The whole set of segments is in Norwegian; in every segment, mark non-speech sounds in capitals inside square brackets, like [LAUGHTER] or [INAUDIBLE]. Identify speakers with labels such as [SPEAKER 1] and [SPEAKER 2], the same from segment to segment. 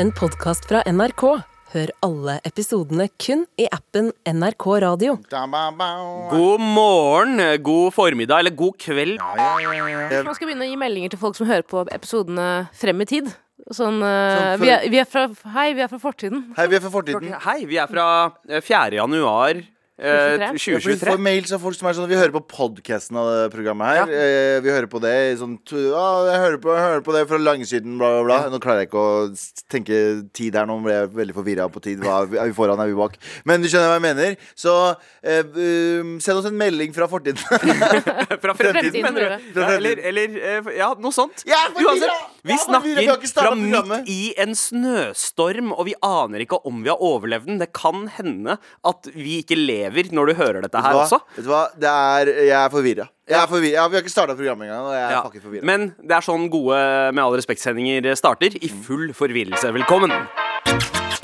[SPEAKER 1] en podkast fra NRK. Hør alle episodene kun i appen NRK Radio.
[SPEAKER 2] God morgen, eh, god formiddag eller god kveld.
[SPEAKER 3] Kanskje man skal begynne å gi meldinger til folk som hører på episodene frem i tid. Sånn, eh, vi, er, vi er fra Hei, vi er fra fortiden.
[SPEAKER 4] Hei, vi er fra fortiden.
[SPEAKER 2] Hei, vi er fra eh, 4. januar eh,
[SPEAKER 3] 2023.
[SPEAKER 4] Vi får
[SPEAKER 2] 2023.
[SPEAKER 4] mails av folk som er sånn Vi hører på podcasten av det programmet her. Eh, Vi hører på det i sånn tu- ah, jeg, hører på, jeg hører på det fra langsiden, bla, bla, bla. Nå klarer jeg ikke å s- tenke tid her, nå ble jeg veldig forvirra på tid. Hva, er vi foran, er vi bak? Men du skjønner hva jeg mener. Så eh, um, send oss en melding fra fortiden.
[SPEAKER 2] [LAUGHS] Fra fremtiden,
[SPEAKER 3] Fremtiden,
[SPEAKER 2] mener
[SPEAKER 3] tror
[SPEAKER 2] du?
[SPEAKER 4] jeg.
[SPEAKER 2] Ja, eller, eller eh, Ja, noe sånt.
[SPEAKER 4] Ja, forvirra!
[SPEAKER 2] Uansett, vi
[SPEAKER 4] Ja, forvirra, vi har ikke
[SPEAKER 2] snakker
[SPEAKER 4] startet
[SPEAKER 2] fra
[SPEAKER 4] programmet.
[SPEAKER 2] midt i en snøstorm, og vi aner ikke om vi har overlevd den. Det kan hende at vi ikke lever når du hører dette her
[SPEAKER 4] Hva?
[SPEAKER 2] også.
[SPEAKER 4] Vet du hva? Det er, jeg er forvirra. Jeg er forvirra. Ja, vi har ikke starta programmet engang. Og jeg er
[SPEAKER 2] Ja.
[SPEAKER 4] fucking forvirra.
[SPEAKER 2] Men det er sånn gode Med all respekt-sendinger starter. I
[SPEAKER 4] Mm.
[SPEAKER 2] full forvirrelse. Velkommen.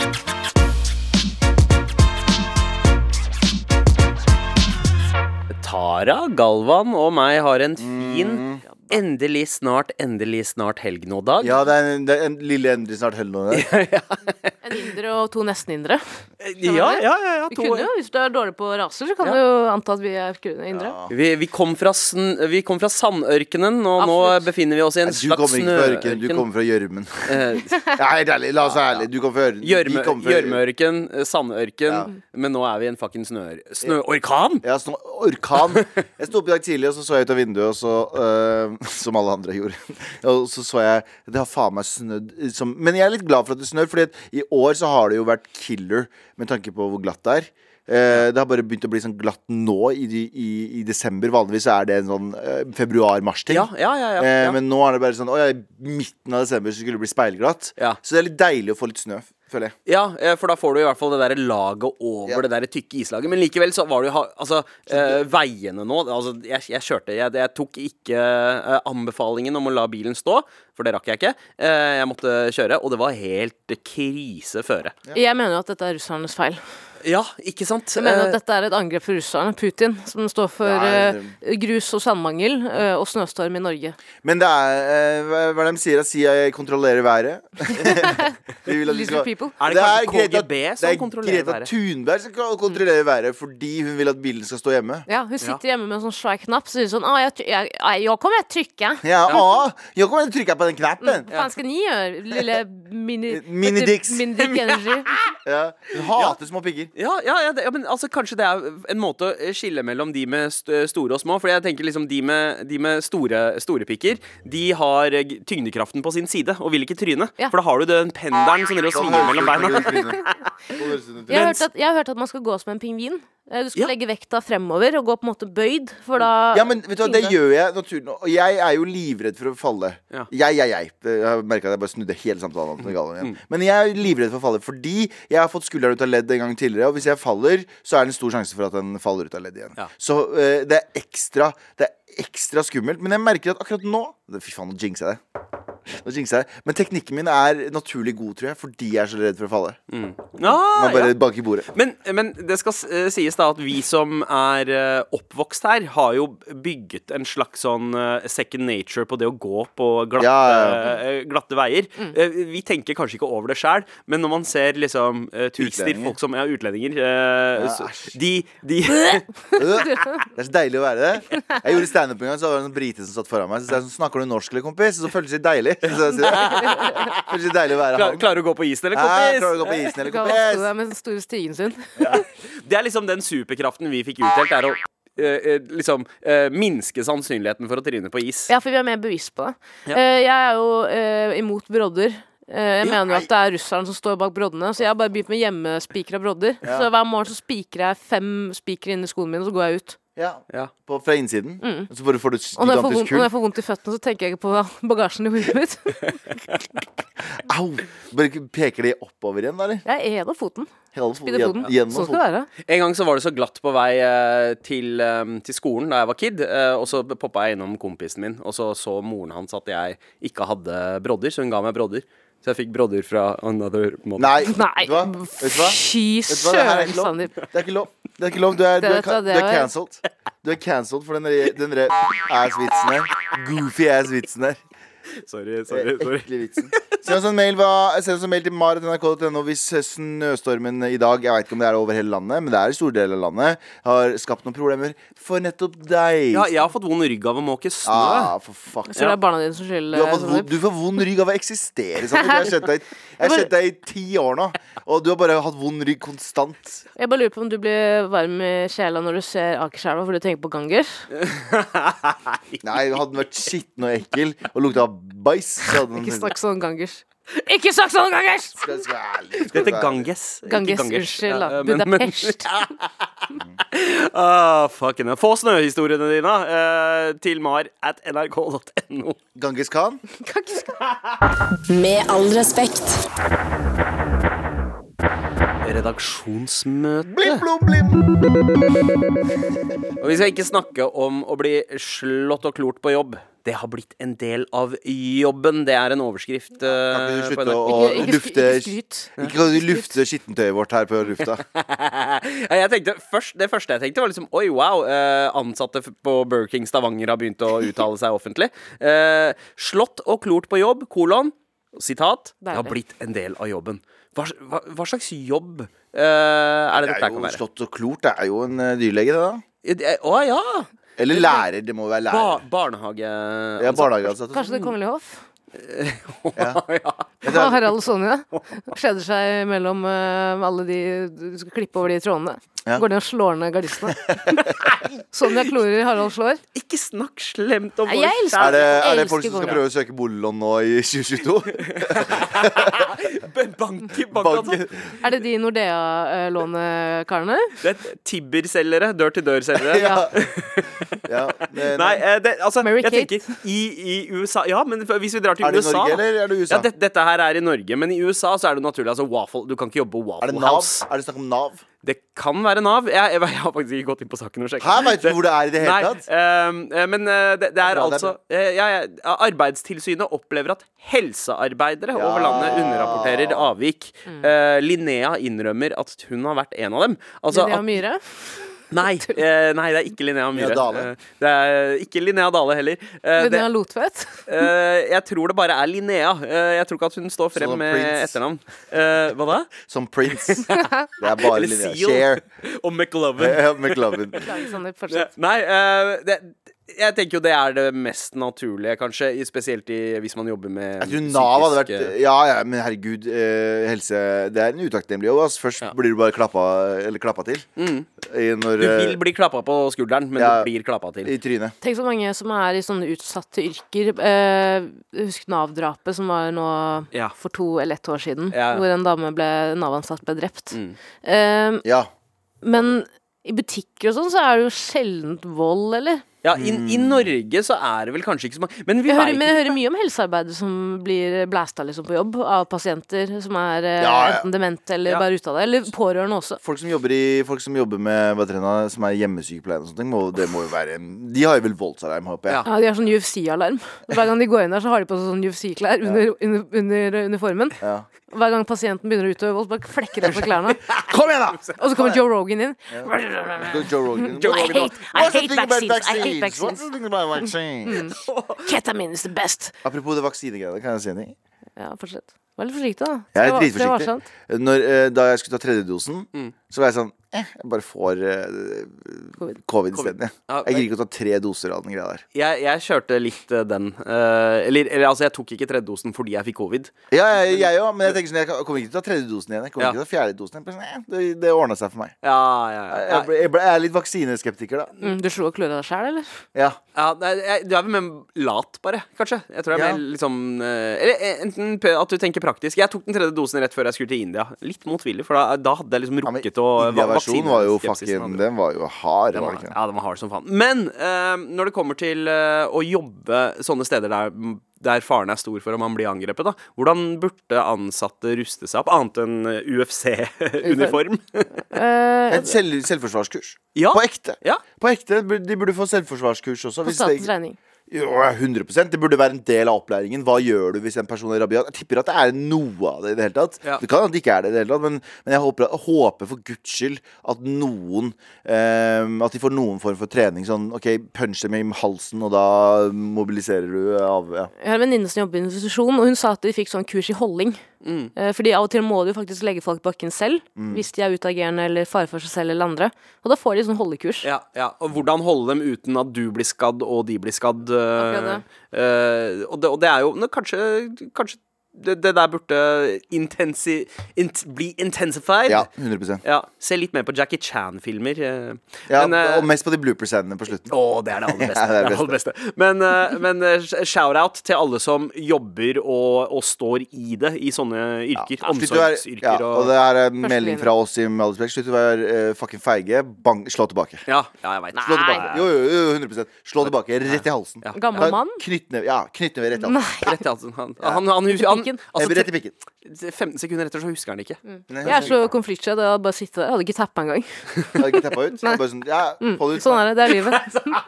[SPEAKER 2] Tara, Galvan og meg har en fin Endelig snart, endelig snart helg nå, Dag.
[SPEAKER 4] Mm. Ja, det er en, det er en lille endring snart hell nå. det.
[SPEAKER 3] En indre og to nesten-indre.
[SPEAKER 2] ja, ja, ja, ja
[SPEAKER 3] Vi
[SPEAKER 2] to-
[SPEAKER 3] kunne jo, Hvis du er dårlig på raser, så kan
[SPEAKER 2] Ja.
[SPEAKER 3] du jo anta at vi er indre.
[SPEAKER 2] vi, vi, kom fra sn vi kom fra sandørkenen, og nå
[SPEAKER 3] Absolutt.
[SPEAKER 2] befinner vi oss i en
[SPEAKER 4] Du
[SPEAKER 2] slags
[SPEAKER 4] kommer ikke fra ørkenen, du
[SPEAKER 2] snøørken.
[SPEAKER 4] kommer fra gjørmen.
[SPEAKER 2] [LAUGHS] Eh,
[SPEAKER 4] [LAUGHS] Ja, helt ærlig, la oss være ærlige. Du kommer fra ørkenen.
[SPEAKER 2] Gjørme- Gjørmeørken, eh, sandørken,
[SPEAKER 4] Ja.
[SPEAKER 2] men nå er vi i en fucking snø, snøorkan.
[SPEAKER 4] Ja, sånn orkan. Jeg sto opp i dag tidlig, og så så jeg ut av vinduet, og så øh, [LAUGHS] Som alle andre gjorde. Og så så jeg Det har faen meg snødd som Men jeg er litt glad for at det snør, Fordi at i år så har det jo vært killer med tanke på hvor glatt det er. Eh, det har bare begynt å bli sånn glatt nå i, de- i, i desember. Vanligvis er det en sånn eh, februar-mars-ting.
[SPEAKER 2] Ja, ja, ja. ja,
[SPEAKER 4] Eh,
[SPEAKER 2] ja.
[SPEAKER 4] Men nå er det bare sånn Å ja, i midten av desember så skulle det bli speilglatt.
[SPEAKER 2] Ja.
[SPEAKER 4] Så det er litt deilig å få litt snø, føler jeg.
[SPEAKER 2] ja, eh, for da får du i hvert fall det der laget over
[SPEAKER 4] Ja.
[SPEAKER 2] det der tykke islaget. Men likevel så var det jo ha- Altså, eh, veiene nå altså, jeg, jeg kjørte jeg, jeg tok ikke eh, anbefalingen om å la bilen stå, for det rakk jeg ikke. Eh, jeg måtte kjøre, og det var helt krise føre.
[SPEAKER 3] Jeg mener jo at dette er russernes feil.
[SPEAKER 2] Ja, ikke sant?
[SPEAKER 3] Jeg
[SPEAKER 2] Eh,
[SPEAKER 3] mener at dette er et angrep for russerne. Putin, som står for
[SPEAKER 4] Nei,
[SPEAKER 3] eh, grus og sandmangel eh, og snøstorm i Norge.
[SPEAKER 4] Men det er eh, hva, hva er det de sier? Si jeg kontrollerer
[SPEAKER 2] [LAUGHS]
[SPEAKER 4] været. de vil at vi
[SPEAKER 3] Little people.
[SPEAKER 2] Er det kanskje KGB som kontrollerer
[SPEAKER 4] Det er Greta
[SPEAKER 2] været?
[SPEAKER 4] Thunberg som kan kontrollere været fordi hun vil at bilen skal stå hjemme.
[SPEAKER 3] Ja, Hun sitter hjemme med en sånn svær knapp og sier sånn ah, jeg, try- jeg, jeg, 'Jeg kommer til å trykke'.
[SPEAKER 4] Ja, å, jeg kommer til å trykke på den knappen.
[SPEAKER 2] Mm,
[SPEAKER 3] Hva faen skal ni gjøre, lille mini...
[SPEAKER 4] Minidicks.
[SPEAKER 3] Minidick
[SPEAKER 2] [LAUGHS]
[SPEAKER 3] Energy. [LAUGHS]
[SPEAKER 4] Ja. Hun hater små pigger.
[SPEAKER 2] Ja, ja, ja, det, ja, men altså, kanskje det er en måte å skille mellom de med st store og små. For jeg tenker liksom de med, de med store, store pikker, de har eh, tyngdekraften på sin side og vil ikke tryne.
[SPEAKER 3] Ja.
[SPEAKER 2] For da har du den pendelen som dere svinger mellom beina.
[SPEAKER 3] Jeg har,
[SPEAKER 2] Mens-
[SPEAKER 3] hørt at, jeg har hørt at man skal gå som en pingvin. Eh, Du skal
[SPEAKER 2] Ja.
[SPEAKER 3] legge vekta fremover og gå på en måte bøyd, for da
[SPEAKER 4] Ja, men vet du hva, det
[SPEAKER 3] tyngde.
[SPEAKER 4] gjør jeg naturlig Og jeg er jo livredd for å falle.
[SPEAKER 2] Ja.
[SPEAKER 4] Jeg, jeg, jeg. Jeg har merket at jeg bare snudde hele samtalen. om det gale igjen.
[SPEAKER 2] Mm.
[SPEAKER 4] Men jeg er livredd for å falle fordi jeg har fått skulderen ut av ledd en gang tidligere. Og hvis jeg faller, så er det en stor sjanse for at den faller ut av ledd igjen.
[SPEAKER 2] Ja.
[SPEAKER 4] Så eh, det er ekstra Det er ekstra skummelt. Men jeg merker at akkurat nå Fy faen, nå jinxer jeg det. Nå jinxer jeg det. Men teknikken min er naturlig god, tror jeg, fordi jeg er så redd for å falle.
[SPEAKER 2] Ah,
[SPEAKER 4] Man bare
[SPEAKER 2] ja.
[SPEAKER 4] banker i bordet.
[SPEAKER 2] Men, men det skal s- eh, sies da at vi som er eh, oppvokst her, har jo bygget en slags sånn eh, second nature på det å gå på glatte,
[SPEAKER 4] Ja, ja,
[SPEAKER 2] eh, glatte veier. Eh, Vi tenker kanskje ikke over det sjøl, men når man ser liksom eh, turister,
[SPEAKER 4] Utlendinger.
[SPEAKER 2] folk som er utlendinger, eh,
[SPEAKER 4] Ja,
[SPEAKER 2] så-
[SPEAKER 4] æsj.
[SPEAKER 2] de, de
[SPEAKER 4] Øh, Det er så deilig å være det. Jeg gjorde standup en gang, så var det en sånn brite som satt foran meg. Så sa jeg sånn, snakker du norsk eller, kompis? Så føles det deilig. Så jeg sier, [LAUGHS] føles det deilig å være
[SPEAKER 2] [LAUGHS] Klar,
[SPEAKER 4] han.
[SPEAKER 2] klarer du å gå på isen, eller,
[SPEAKER 4] Hæ, klarer du å gå på
[SPEAKER 2] kompis?
[SPEAKER 4] isen
[SPEAKER 3] Du
[SPEAKER 4] eller,
[SPEAKER 3] kan vaske
[SPEAKER 4] kompis?
[SPEAKER 3] deg med den store stigen
[SPEAKER 4] [LAUGHS]
[SPEAKER 3] sin.
[SPEAKER 2] Det er liksom den superkraften vi fikk utdelt, er å eh, eh, liksom eh, minske sannsynligheten for å tryne på is.
[SPEAKER 3] Ja, for vi er mer bevisst på det.
[SPEAKER 2] Ja.
[SPEAKER 3] Eh, jeg er jo eh, imot brodder. Eh, jeg
[SPEAKER 2] Ja,
[SPEAKER 3] mener jo at det er russeren som står bak broddene, så jeg har bare begynt med hjemmespikra brodder. Så hver morgen så spikrer jeg fem spikere inni skoene mine, og så går jeg ut.
[SPEAKER 4] Ja,
[SPEAKER 2] Ja.
[SPEAKER 4] på, fra innsiden. Så bare får du
[SPEAKER 3] Mm. Og når jeg får vondt,
[SPEAKER 4] gigantisk
[SPEAKER 3] når
[SPEAKER 4] kull.
[SPEAKER 3] jeg får vondt i føttene, så tenker jeg ikke på [LAUGHS] bagasjen i hodet mitt.
[SPEAKER 4] [LAUGHS] Au! Bare peker de oppover igjen, da, eller?
[SPEAKER 3] Jeg er en av foten.
[SPEAKER 4] Hele foten.
[SPEAKER 3] Spidder foten.
[SPEAKER 4] gjennom- Gjennom
[SPEAKER 3] Sånn skal det
[SPEAKER 4] foten.
[SPEAKER 3] være.
[SPEAKER 2] En gang så var det så glatt på vei eh, til, eh, til skolen da jeg var kid, eh, og så poppa jeg innom kompisen min, og så så moren hans at jeg ikke hadde brodder, så hun ga meg brodder. Så jeg fikk brodder fra another mother.
[SPEAKER 4] Nei, vet
[SPEAKER 3] Nei,
[SPEAKER 4] du hva? Vet du hva?
[SPEAKER 3] fy
[SPEAKER 4] Vet du hva? Det her er
[SPEAKER 3] søren,
[SPEAKER 4] ikke lov.
[SPEAKER 3] Sandeep.
[SPEAKER 4] Det er ikke lov. Det er ikke lov. Du er, du
[SPEAKER 3] Det
[SPEAKER 4] er,
[SPEAKER 3] vet du hva
[SPEAKER 4] ka- du
[SPEAKER 3] det
[SPEAKER 4] er
[SPEAKER 3] var.
[SPEAKER 4] cancelled. Du er cancelled for den re- den re- ass-vitsen her. Goofy ass-vitsen her.
[SPEAKER 2] Sorry,
[SPEAKER 4] Ekle vitsen. Send oss en mail, hva- send oss en mail til maret.nrk.no hvis snøstormen i dag Jeg vet ikke om det er over hele landet, men det er i store deler av landet. Har skapt noen problemer for nettopp deg.
[SPEAKER 2] Ja, jeg har fått vond rygg av å måke snø.
[SPEAKER 4] ah, for fuck.
[SPEAKER 3] Så det er barna dine som skylder
[SPEAKER 4] Du, har fått,
[SPEAKER 3] eh,
[SPEAKER 4] vond- du får vond rygg av å eksistere. Sandeep.
[SPEAKER 3] [LAUGHS]
[SPEAKER 4] Jeg har kjent deg i- jeg har kjent deg i ti år nå, og du har bare hatt vond rygg konstant.
[SPEAKER 3] Jeg bare lurer på om du blir varm i sjela når du ser Akerselva fordi du tenker på Gangers.
[SPEAKER 4] Nei, hadde den vært skitten og ekkel og lukta av bæsj, så hadde den
[SPEAKER 3] Ikke snakk sånn om Gangers. Ikke snakk sånn om Gangers!
[SPEAKER 4] Skal- skal være ærlig,
[SPEAKER 2] Det
[SPEAKER 4] skal
[SPEAKER 2] heter
[SPEAKER 4] være ærlig.
[SPEAKER 2] Ganges. ikke
[SPEAKER 3] Ganges,
[SPEAKER 2] Gangers.
[SPEAKER 3] unnskyld. da.
[SPEAKER 2] Ja, men- men-
[SPEAKER 3] Budapest.
[SPEAKER 2] [LAUGHS] Ah, fucking hell. Få snøhistoriene dine eh, til mar at nrk.no.
[SPEAKER 4] Genghis Khan?
[SPEAKER 1] Med all respekt.
[SPEAKER 2] Redaksjonsmøte.
[SPEAKER 4] Blim, blom, blim.
[SPEAKER 2] Og vi skal ikke snakke om å bli slått og klort på jobb. Det har blitt en del av jobben. Det er en overskrift.
[SPEAKER 4] Kan
[SPEAKER 2] eh,
[SPEAKER 4] ikke du
[SPEAKER 2] på
[SPEAKER 4] slutte
[SPEAKER 2] [LAUGHS] NRK.
[SPEAKER 4] å
[SPEAKER 3] Ikke- ikke skry-
[SPEAKER 4] lufte
[SPEAKER 3] ikke skryt.
[SPEAKER 4] Ikke kan du lufte skittentøyet vårt her på lufta.
[SPEAKER 2] Nei, jeg tenkte først, Det første jeg tenkte, var liksom Oi, wow. eh, ansatte f- på Burger King Stavanger har begynt å uttale seg offentlig. Eh, slått og klort på jobb, kolon, sitat. Det har
[SPEAKER 3] Deilig.
[SPEAKER 2] blitt en del av jobben. Hva, s- hva, hva slags jobb eh, er
[SPEAKER 4] Det
[SPEAKER 2] det dette
[SPEAKER 4] er
[SPEAKER 2] her kan
[SPEAKER 4] jo
[SPEAKER 2] være?
[SPEAKER 4] slått og klort. Det er jo en eh, dyrlege, det, da.
[SPEAKER 2] Ja, det er- Å ja!
[SPEAKER 4] Eller lærer. Det må være lærer.
[SPEAKER 2] Ba barnehage...
[SPEAKER 4] Ja, barnehageansatt. og sånn.
[SPEAKER 3] Kanskje Det kongelige hoff?
[SPEAKER 4] [LAUGHS]
[SPEAKER 2] [LAUGHS] ja.
[SPEAKER 4] Vet du
[SPEAKER 3] Og
[SPEAKER 4] hva?
[SPEAKER 3] Harald og Sonja skjeder seg mellom eh, alle de Du skal klippe over de trådene.
[SPEAKER 4] Ja.
[SPEAKER 3] Går ned og slår ned
[SPEAKER 4] [LAUGHS]
[SPEAKER 3] gardistene. Sonja klorer, Harald slår.
[SPEAKER 2] Ikke snakk slemt om
[SPEAKER 3] Nei, jeg
[SPEAKER 2] vår
[SPEAKER 3] elsker
[SPEAKER 4] Er det,
[SPEAKER 3] Jeg
[SPEAKER 4] er det
[SPEAKER 3] elsker
[SPEAKER 4] folk som skal
[SPEAKER 3] kongelige.
[SPEAKER 4] prøve å søke boliglån nå i 2022?
[SPEAKER 2] [LAUGHS] kjære [LAUGHS] bank i bank.
[SPEAKER 4] Banken.
[SPEAKER 3] Er det de Nordea-lånekarene?
[SPEAKER 2] Det er Tibber-selgere. Dør-til-dør-selgere.
[SPEAKER 4] [LAUGHS] Ja. ja. men-
[SPEAKER 2] Nei, eh, det, altså
[SPEAKER 3] Mary
[SPEAKER 2] Jeg
[SPEAKER 3] Kate.
[SPEAKER 2] tenker i, i USA Ja, men hvis vi drar til
[SPEAKER 4] Er det i
[SPEAKER 2] USA
[SPEAKER 4] Norge,
[SPEAKER 2] da.
[SPEAKER 4] eller er det i
[SPEAKER 2] Ja,
[SPEAKER 4] USA?
[SPEAKER 2] det, dette her er i Norge, men i USA så er det naturlig. Altså waffle, Du kan ikke jobbe på
[SPEAKER 4] Er det
[SPEAKER 2] Waffle
[SPEAKER 4] Nav?
[SPEAKER 2] House.
[SPEAKER 4] Er det snakk om Nav?
[SPEAKER 2] Det kan være Nav. Jeg, jeg, jeg har faktisk ikke gått inn på saken og sjekket.
[SPEAKER 4] Her veit du hvor det er i det hele tatt.
[SPEAKER 2] ehm, eh, men eh, det, det er
[SPEAKER 4] bra, det er
[SPEAKER 2] altså eh, ja, ja, Arbeidstilsynet opplever at helsearbeidere
[SPEAKER 4] Ja.
[SPEAKER 2] over landet underrapporterer avvik.
[SPEAKER 3] Mm.
[SPEAKER 2] Eh, Linnea innrømmer at hun har vært en av dem. Altså,
[SPEAKER 3] Linnea
[SPEAKER 2] at-
[SPEAKER 3] Myhre? [LAUGHS]
[SPEAKER 2] nei, eh, nei, det er ikke Linnea Myhre.
[SPEAKER 4] Linnea Dale.
[SPEAKER 2] Eh, det er ikke Linnea Dale heller. Eh, det,
[SPEAKER 3] Linnea
[SPEAKER 2] [LAUGHS]
[SPEAKER 3] Lotvedt?
[SPEAKER 2] eh, jeg tror det bare er Linnea. Eh, jeg tror ikke at hun står frem
[SPEAKER 4] Sånn
[SPEAKER 2] med
[SPEAKER 4] Prince.
[SPEAKER 2] etternavn. Eh, hva da?
[SPEAKER 4] Som
[SPEAKER 2] [LAUGHS]
[SPEAKER 4] Prince. Det er bare
[SPEAKER 2] Eller
[SPEAKER 4] Linnea.
[SPEAKER 2] Seal.
[SPEAKER 4] Share.
[SPEAKER 2] Og McLoven.
[SPEAKER 4] Ja, McLovin.
[SPEAKER 3] Beklager,
[SPEAKER 2] sånn
[SPEAKER 3] Sandeep, fortsett.
[SPEAKER 2] Nei, eh, det, jeg tenker jo det er det mest naturlige, kanskje. i- Spesielt i, hvis man jobber med
[SPEAKER 4] Jeg tror Nav hadde vært eh,
[SPEAKER 2] psykiske-
[SPEAKER 4] Ja, ja, men herregud. eh, helse Det er en utakknemlig jobb. ass. Først blir du bare klappa, eller klappa til. I, når,
[SPEAKER 2] Mm. Du
[SPEAKER 4] eh,
[SPEAKER 2] vil bli klappa på skulderen, men
[SPEAKER 4] Ja.
[SPEAKER 2] du blir klappa til.
[SPEAKER 4] I trynet.
[SPEAKER 3] Tenk så mange som er i sånne utsatte yrker. Eh, husk Nav-drapet som var nå
[SPEAKER 2] Ja.
[SPEAKER 3] for to eller ett år siden.
[SPEAKER 2] Ja. Mm.
[SPEAKER 3] Hvor en dame ble Nav-ansatt ble drept. Eh,
[SPEAKER 4] Ja.
[SPEAKER 3] men i butikker og sånn så er det jo sjelden vold, eller?
[SPEAKER 2] Ja, i, I Norge så er det vel kanskje ikke så mange Men vi
[SPEAKER 3] Jeg hører,
[SPEAKER 2] vet
[SPEAKER 3] men jeg
[SPEAKER 2] ikke.
[SPEAKER 3] hører mye om helsearbeidere som blir blæsta liksom, på jobb av pasienter som er eh,
[SPEAKER 4] Ja, ja.
[SPEAKER 3] enten demente eller
[SPEAKER 2] Ja.
[SPEAKER 3] bare ute av det. Eller pårørende også.
[SPEAKER 4] Folk som jobber, i, folk som jobber med hva heter det nå, som er hjemmesykepleiere og sånne ting, må, det må jo være en- De har jo vel voldsalarm, håper jeg.
[SPEAKER 2] Ja.
[SPEAKER 3] Ja, De har sånn UFC-alarm. Hver gang de går inn der, så har de på seg sånn UFC-klær under, under, under uniformen.
[SPEAKER 4] Ja.
[SPEAKER 3] Hver gang pasienten begynner å utøve vold, så bare flekker de på
[SPEAKER 4] [LAUGHS]
[SPEAKER 3] klærne.
[SPEAKER 4] Kom igjen, da!
[SPEAKER 3] Og så kommer Joe Rogan inn.
[SPEAKER 4] Joe Rogan.
[SPEAKER 2] Joe
[SPEAKER 4] Joe
[SPEAKER 2] Rogan.
[SPEAKER 4] Rogan.
[SPEAKER 2] hate-
[SPEAKER 3] I
[SPEAKER 4] What's the
[SPEAKER 3] hate
[SPEAKER 4] thing about
[SPEAKER 3] vaccines. I hate
[SPEAKER 4] vaccines?
[SPEAKER 3] vaccines. Mm.
[SPEAKER 4] What's the thing about vaccines?
[SPEAKER 3] Ketamin is the best.
[SPEAKER 4] Apropos det vaksinegreiene, kan jeg si en ting?
[SPEAKER 3] Ja, fortsett. Vær litt forsiktig, da.
[SPEAKER 4] Jeg er
[SPEAKER 3] Tre- tre
[SPEAKER 4] dritforsiktig.
[SPEAKER 3] varsomt.
[SPEAKER 4] Når, eh, da jeg skulle ta tredjedosen, så var jeg sånn eh, Jeg bare får eh,
[SPEAKER 3] Covid.
[SPEAKER 4] covid isteden. Jeg.
[SPEAKER 2] Ja,
[SPEAKER 4] jeg gidder ikke å ta tre doser av den greia der.
[SPEAKER 2] Jeg, jeg kjørte litt eh, den. Eh, eller, eller altså, jeg tok ikke tredjedosen fordi jeg fikk covid.
[SPEAKER 4] Ja, jeg- jeg òg, men jeg tenker sånn, jeg kan- kommer ikke til å ta tredjedosen igjen. Jeg kommer
[SPEAKER 2] Ja.
[SPEAKER 4] ikke til å ta fjerdedosen igjen. Eh, Det, det ordna seg for meg.
[SPEAKER 2] Ja, ja, ja.
[SPEAKER 4] Jeg, ble, jeg, ble, jeg er litt vaksineskeptiker, da.
[SPEAKER 3] Mm, du slo og klora deg sjæl, eller?
[SPEAKER 4] Ja.
[SPEAKER 2] Ja, nei, jeg, du er vel mer lat, bare, kanskje. Jeg tror jeg er
[SPEAKER 4] Ja.
[SPEAKER 2] mer liksom eh, Eller eh, enten p- at du tenker praktisk. Jeg tok den tredje dosen rett før jeg skulle til India. Litt motvillig, for da, da hadde jeg liksom
[SPEAKER 4] ja men
[SPEAKER 2] rukket å
[SPEAKER 4] India-versjonen var jo
[SPEAKER 2] vaksineskepsisen
[SPEAKER 4] fucking
[SPEAKER 2] hadde-
[SPEAKER 4] Den var jo hard,
[SPEAKER 2] Den
[SPEAKER 4] var
[SPEAKER 2] var,
[SPEAKER 4] det ikke?
[SPEAKER 2] ja, den var hard som faen. Men eh, når det kommer til eh, å jobbe sånne steder der, der faren er stor for om han blir angrepet, da, hvordan burde ansatte ruste seg opp, annet enn eh,
[SPEAKER 4] [LAUGHS]
[SPEAKER 2] UFC-uniform?
[SPEAKER 3] Eh,
[SPEAKER 4] Et selv, selvforsvarskurs.
[SPEAKER 2] Ja.
[SPEAKER 4] På ekte.
[SPEAKER 2] ja.
[SPEAKER 4] På ekte, De burde få selvforsvarskurs også.
[SPEAKER 3] på
[SPEAKER 4] hvis det-
[SPEAKER 3] statens regning.
[SPEAKER 4] Jo, 100 Det burde være en del av opplæringen. Hva gjør du hvis en person er rabiat? Jeg tipper at det er noe av det i det hele tatt.
[SPEAKER 2] Ja.
[SPEAKER 4] Det kan at det ikke er det i det hele tatt, men, men jeg håper, håper for guds skyld at noen ehm, At de får noen form for trening. Sånn OK, punch dem i halsen, og da mobiliserer du av ja.
[SPEAKER 3] Jeg har en venninne som jobber i en institusjon, og hun sa at de fikk sånn kurs i holding.
[SPEAKER 4] Mm.
[SPEAKER 3] Eh, Fordi av og til må de jo faktisk legge folk på bakken selv, hvis de er utagerende eller fare for seg selv eller andre. Og da får de sånn holdekurs.
[SPEAKER 2] Ja, ja. Og hvordan holde dem uten at du blir skadd og de blir skadd. øh,
[SPEAKER 3] Akkurat
[SPEAKER 2] øh, og, det, og det er jo nå, Kanskje, kanskje det, det der burde intensi, int, bli intensified.
[SPEAKER 4] Ja, 100
[SPEAKER 2] Ja, Se litt mer på Jackie Chan-filmer. øh.
[SPEAKER 4] ja,
[SPEAKER 2] Men, øh,
[SPEAKER 4] Og mest på de blooper-scenene på slutten.
[SPEAKER 2] å, det er det aller
[SPEAKER 4] [LAUGHS]
[SPEAKER 2] beste.
[SPEAKER 4] Ja,
[SPEAKER 2] det er det aller beste. Men, eh, men eh, sh- shout-out til alle som jobber og, og står i det i sånne
[SPEAKER 4] Slutt
[SPEAKER 2] yrker.
[SPEAKER 4] å være-
[SPEAKER 2] Omsorgsyrker
[SPEAKER 4] ja, og
[SPEAKER 2] og
[SPEAKER 4] det er en melding
[SPEAKER 3] linje.
[SPEAKER 4] fra oss i Malispek. Slutt å være eh, fucking feige. Bang, slå tilbake.
[SPEAKER 2] Ja, ja jeg veit.
[SPEAKER 4] Slå tilbake. Jo, jo, jo, 100 Slå tilbake. Rett i halsen.
[SPEAKER 2] Ja.
[SPEAKER 3] Gammel
[SPEAKER 4] Ta-
[SPEAKER 3] mann?
[SPEAKER 4] Knyttneve. Ja, knyttneve rett i halsen.
[SPEAKER 3] Nei.
[SPEAKER 2] Rett i halsen. Han, han, han, han,
[SPEAKER 3] pikken.
[SPEAKER 2] altså,
[SPEAKER 4] Eh, rett i pikken.
[SPEAKER 2] 15 sekunder etter så husker han ikke. [LAUGHS]
[SPEAKER 3] Jeg er så konfliktsky. Jeg hadde bare sittet der. Jeg hadde ikke tappa engang.
[SPEAKER 4] Jeg hadde ikke tappa ut. Jeg Bare sånn, ja, få det ut.
[SPEAKER 3] Sånn er det. Det er livet. [LAUGHS]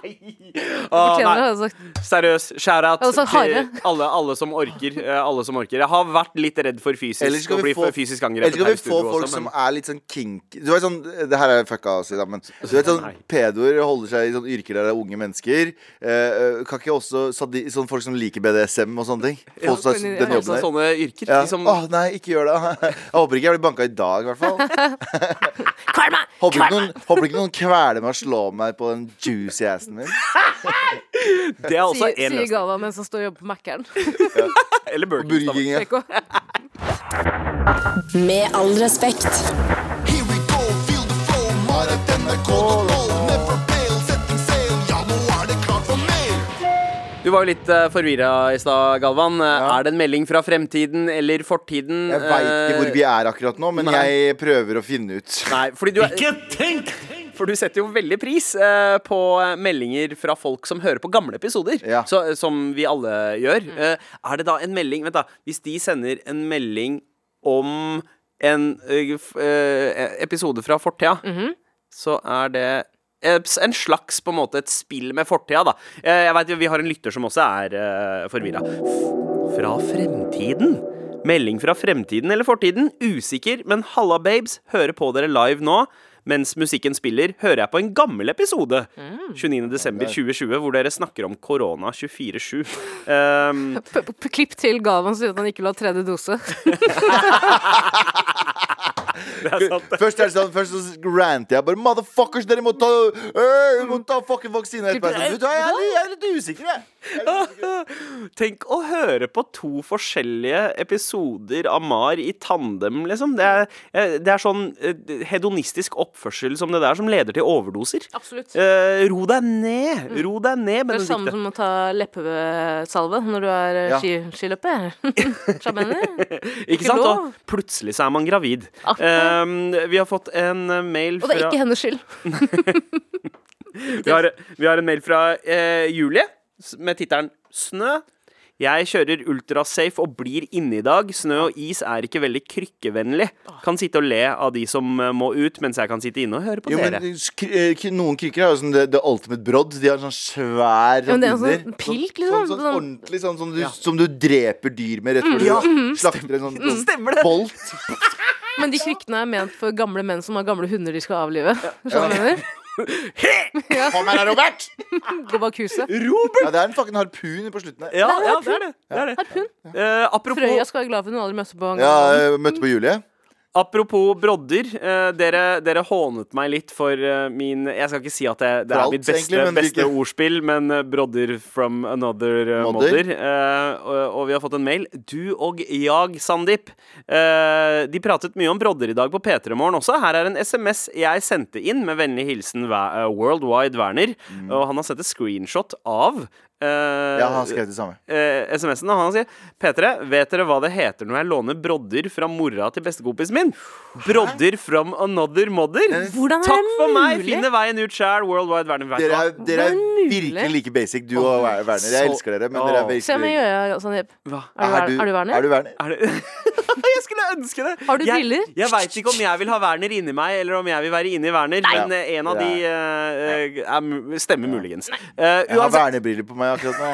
[SPEAKER 2] Å,
[SPEAKER 3] Fortjener det,
[SPEAKER 2] nei,
[SPEAKER 3] altså. hadde jeg sagt.
[SPEAKER 2] seriøst, shout-out
[SPEAKER 3] Jeg hadde sagt
[SPEAKER 2] til
[SPEAKER 3] harde.
[SPEAKER 2] [LAUGHS] alle, alle som orker. eh, Alle som orker. Jeg har vært litt redd for
[SPEAKER 4] Ellers
[SPEAKER 2] fysisk
[SPEAKER 4] skal
[SPEAKER 2] å
[SPEAKER 4] vi
[SPEAKER 2] bli
[SPEAKER 4] få,
[SPEAKER 2] fysisk
[SPEAKER 4] ellers
[SPEAKER 2] angrepet
[SPEAKER 4] skal
[SPEAKER 2] her i
[SPEAKER 4] vi få
[SPEAKER 2] studio
[SPEAKER 4] folk
[SPEAKER 2] også,
[SPEAKER 4] som
[SPEAKER 2] men-
[SPEAKER 4] er litt sånn kink Du vet sånn, Det her er fucka å si, da,
[SPEAKER 2] [LAUGHS]
[SPEAKER 4] men du vet sånn
[SPEAKER 2] Nei.
[SPEAKER 4] pedoer holder seg i sånn yrker der det er unge mennesker. Eh, kan ikke også sadi, sånn folk som liker BDSM og sånne ting, få seg
[SPEAKER 3] kan de-
[SPEAKER 4] den
[SPEAKER 2] Også
[SPEAKER 4] jobben der?
[SPEAKER 2] sånne yrker.
[SPEAKER 4] Ja.
[SPEAKER 2] de som-
[SPEAKER 4] Åh, nei, ikke gjør det. [LAUGHS] Jeg håper ikke jeg blir banka i dag, i hvert
[SPEAKER 2] [LAUGHS]
[SPEAKER 4] fall.
[SPEAKER 3] Kvel meg!
[SPEAKER 4] Håper ikke noen, håper ikke noen kveler meg og slår meg på den juicy assen min.
[SPEAKER 2] det er også
[SPEAKER 3] Sier
[SPEAKER 2] en
[SPEAKER 3] sier
[SPEAKER 2] løsning.
[SPEAKER 3] Gava mens han står og jobber på
[SPEAKER 2] [LAUGHS]
[SPEAKER 3] Mækkern.
[SPEAKER 2] Eller Burger King, da.
[SPEAKER 4] Burger King. ja.
[SPEAKER 3] Preko.
[SPEAKER 1] Med all respekt.
[SPEAKER 5] Here we go, feel the flow. Har et NRK-kontroll. Never fail, setting sail. Ja, nå er det klart for mer.
[SPEAKER 2] Du var jo litt uh, forvirra i stad, Galvan. Eh, Er det en melding fra fremtiden eller fortiden? Eh,
[SPEAKER 4] Jeg veit ikke hvor vi er akkurat nå, men
[SPEAKER 2] nei.
[SPEAKER 4] jeg prøver å finne ut.
[SPEAKER 2] Nei, fordi du, er, for du setter jo veldig pris eh, på eh, meldinger fra folk som hører på gamle episoder,
[SPEAKER 4] Ja.
[SPEAKER 2] så, eh, som vi alle gjør. Eh, er det da en melding Vent, da. Hvis de sender en melding om en eh, f- eh, episode fra fortida, så er det eh, s- en slags på en måte et spill med fortida, da. Eh, Jeg vet, jo, Vi har en lytter som også er uh, forvirra. Fra fremtiden? Melding fra fremtiden eller fortiden? Usikker, men halla, babes. Hører på dere live nå. Mens musikken spiller, hører jeg på en gammel episode. 29.12.2020, hvor dere snakker om korona 24-7. [LAUGHS] Ehm,
[SPEAKER 3] P- p- Klipp til Gavan sier at han ikke vil ha tredje dose.
[SPEAKER 2] det er sant.
[SPEAKER 4] Først er det sånn, først så ranter jeg bare Motherfuckers, dere må ta, øh, må ta fucking vaksine helt på Jeg, sånn, jeg, er litt- jeg er litt usikker, jeg
[SPEAKER 2] Tenk å høre på to forskjellige episoder av Mar i tandem, liksom. Det er, eh, det er sånn eh, hedonistisk oppførsel som det der, som leder til overdoser.
[SPEAKER 3] Absolutt.
[SPEAKER 2] Eh, ro deg ned! Ro deg ned,
[SPEAKER 3] Mm. Det er det
[SPEAKER 2] Benedicte.
[SPEAKER 3] samme som å ta leppesalve når du er eh,
[SPEAKER 4] Ja.
[SPEAKER 3] ski,
[SPEAKER 2] [LAUGHS]
[SPEAKER 3] skiløper. Sjabene.
[SPEAKER 2] Ikke sant?
[SPEAKER 3] lov.
[SPEAKER 2] Og plutselig så er man gravid.
[SPEAKER 3] Akkurat.
[SPEAKER 2] Eh, vi har fått en eh, mail
[SPEAKER 3] Og det er
[SPEAKER 2] fra
[SPEAKER 3] ikke hennes skyld.
[SPEAKER 2] vi, har, vi har en mail fra eh, Julie s- med tittelen 'Snø'. Jeg kjører ultrasafe og blir inne i dag. Snø og is er ikke veldig krykkevennlig. Kan sitte og le av de som eh, må ut, mens jeg kan sitte inne og høre på
[SPEAKER 4] jo, men,
[SPEAKER 2] dere.
[SPEAKER 4] skri- eh, k- Noen krykker er jo sånn The, the ultimate broad De har en sånn svær
[SPEAKER 3] men det er en
[SPEAKER 4] under.
[SPEAKER 3] sånn pilk,
[SPEAKER 4] Sånn,
[SPEAKER 3] liksom.
[SPEAKER 4] sånn,
[SPEAKER 3] Sånn- Mm.
[SPEAKER 4] ordentlig sånn som du,
[SPEAKER 2] Ja.
[SPEAKER 4] som du dreper dyr med Rett før du slakter en sånn, sånn
[SPEAKER 2] Stemmer det.
[SPEAKER 4] bolt
[SPEAKER 3] Men de krykkene er ment for gamle menn som har gamle hunder de skal avlive. Skjønner du hva
[SPEAKER 2] [LAUGHS]
[SPEAKER 3] jeg mener?
[SPEAKER 4] Kom her, Robert
[SPEAKER 3] Gå bak huset.
[SPEAKER 2] Robert!
[SPEAKER 4] ja, Det er en fucking harpun på slutten her
[SPEAKER 2] Ja, ja, det er det. det, er det. Eh, apropos
[SPEAKER 3] Frøya skal være glad for hun aldri møtte på en
[SPEAKER 4] Ja,
[SPEAKER 3] gang.
[SPEAKER 4] jeg møtte på Julie
[SPEAKER 2] Apropos brodder. eh, dere, dere hånet meg litt for eh, min Jeg skal ikke si at det, det
[SPEAKER 4] For
[SPEAKER 2] er
[SPEAKER 4] alt,
[SPEAKER 2] mitt beste,
[SPEAKER 4] egentlig, men
[SPEAKER 2] beste
[SPEAKER 4] hvilke-
[SPEAKER 2] ordspill, men eh, brodder from another eh,
[SPEAKER 4] Mother.
[SPEAKER 2] mother. Eh, og, og vi har fått en mail. Du og jag, Sandeep. Eh, de pratet mye om brodder i dag på P3 Morgen også. Her er en SMS jeg sendte inn med vennlig hilsen Wa- eh, Worldwide Werner. Og han har sett et screenshot av eh,
[SPEAKER 4] Mm. Ja, han skrev det samme
[SPEAKER 2] eh, SMS-en, og han sier P3, vet dere hva det heter når jeg låner brodder fra mora til bestekompisen min? Brodder from another mother.
[SPEAKER 4] Eh,
[SPEAKER 3] Hvordan er
[SPEAKER 2] Takk
[SPEAKER 3] det
[SPEAKER 2] for meg,
[SPEAKER 3] mulig?
[SPEAKER 2] finne veien ut sjæl, worldwide verden. Vet du
[SPEAKER 4] Dere
[SPEAKER 2] hva?
[SPEAKER 4] er, dere er virkelig
[SPEAKER 3] Hyggelig.
[SPEAKER 4] like basic. Du og Ver- Werner. Jeg
[SPEAKER 2] så-
[SPEAKER 4] elsker dere, men
[SPEAKER 2] Åh.
[SPEAKER 4] dere er
[SPEAKER 3] Se om jeg
[SPEAKER 4] virkelig
[SPEAKER 3] gjør Sandeep.
[SPEAKER 2] Hva?
[SPEAKER 3] Er du, er du Werner?
[SPEAKER 4] Er du Werner?
[SPEAKER 2] Er det [LAUGHS] Jeg skulle ønske det!
[SPEAKER 3] Har du
[SPEAKER 2] jeg,
[SPEAKER 3] briller?
[SPEAKER 2] Jeg veit ikke om jeg vil ha Werner inni meg, eller om jeg vil være inni Werner, men eh, en av de eh, eh, er, mu- stemmer muligens. Eh,
[SPEAKER 4] Jeg har
[SPEAKER 2] uansett,
[SPEAKER 4] vernebriller på meg akkurat nå.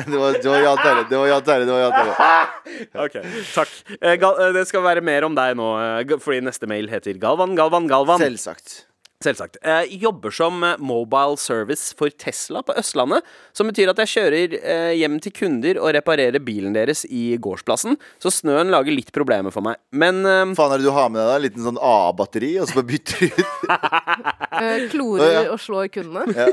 [SPEAKER 4] [LAUGHS] det var det var Jan Terje. Det var Jan Terje. Det var Jan Terje.
[SPEAKER 2] Ok, takk. Eh, Gal, eh, det skal være mer om deg nå, eh, g- fordi neste mail heter Galvan, Galvan, Galvan.
[SPEAKER 4] Selvsagt.
[SPEAKER 2] Selvsagt. Eh, jobber som eh, mobile service for Tesla på Østlandet. Som betyr at jeg kjører eh, hjem til kunder og reparerer bilen deres i gårdsplassen. Så snøen lager litt problemer for meg. Men eh, [LAUGHS]
[SPEAKER 4] Faen er det du har med deg da? En liten sånn AA-batteri, og så bare bytter du ut?
[SPEAKER 3] Eh,
[SPEAKER 4] Ja,
[SPEAKER 3] Klorer
[SPEAKER 4] ja.
[SPEAKER 3] og slår kundene.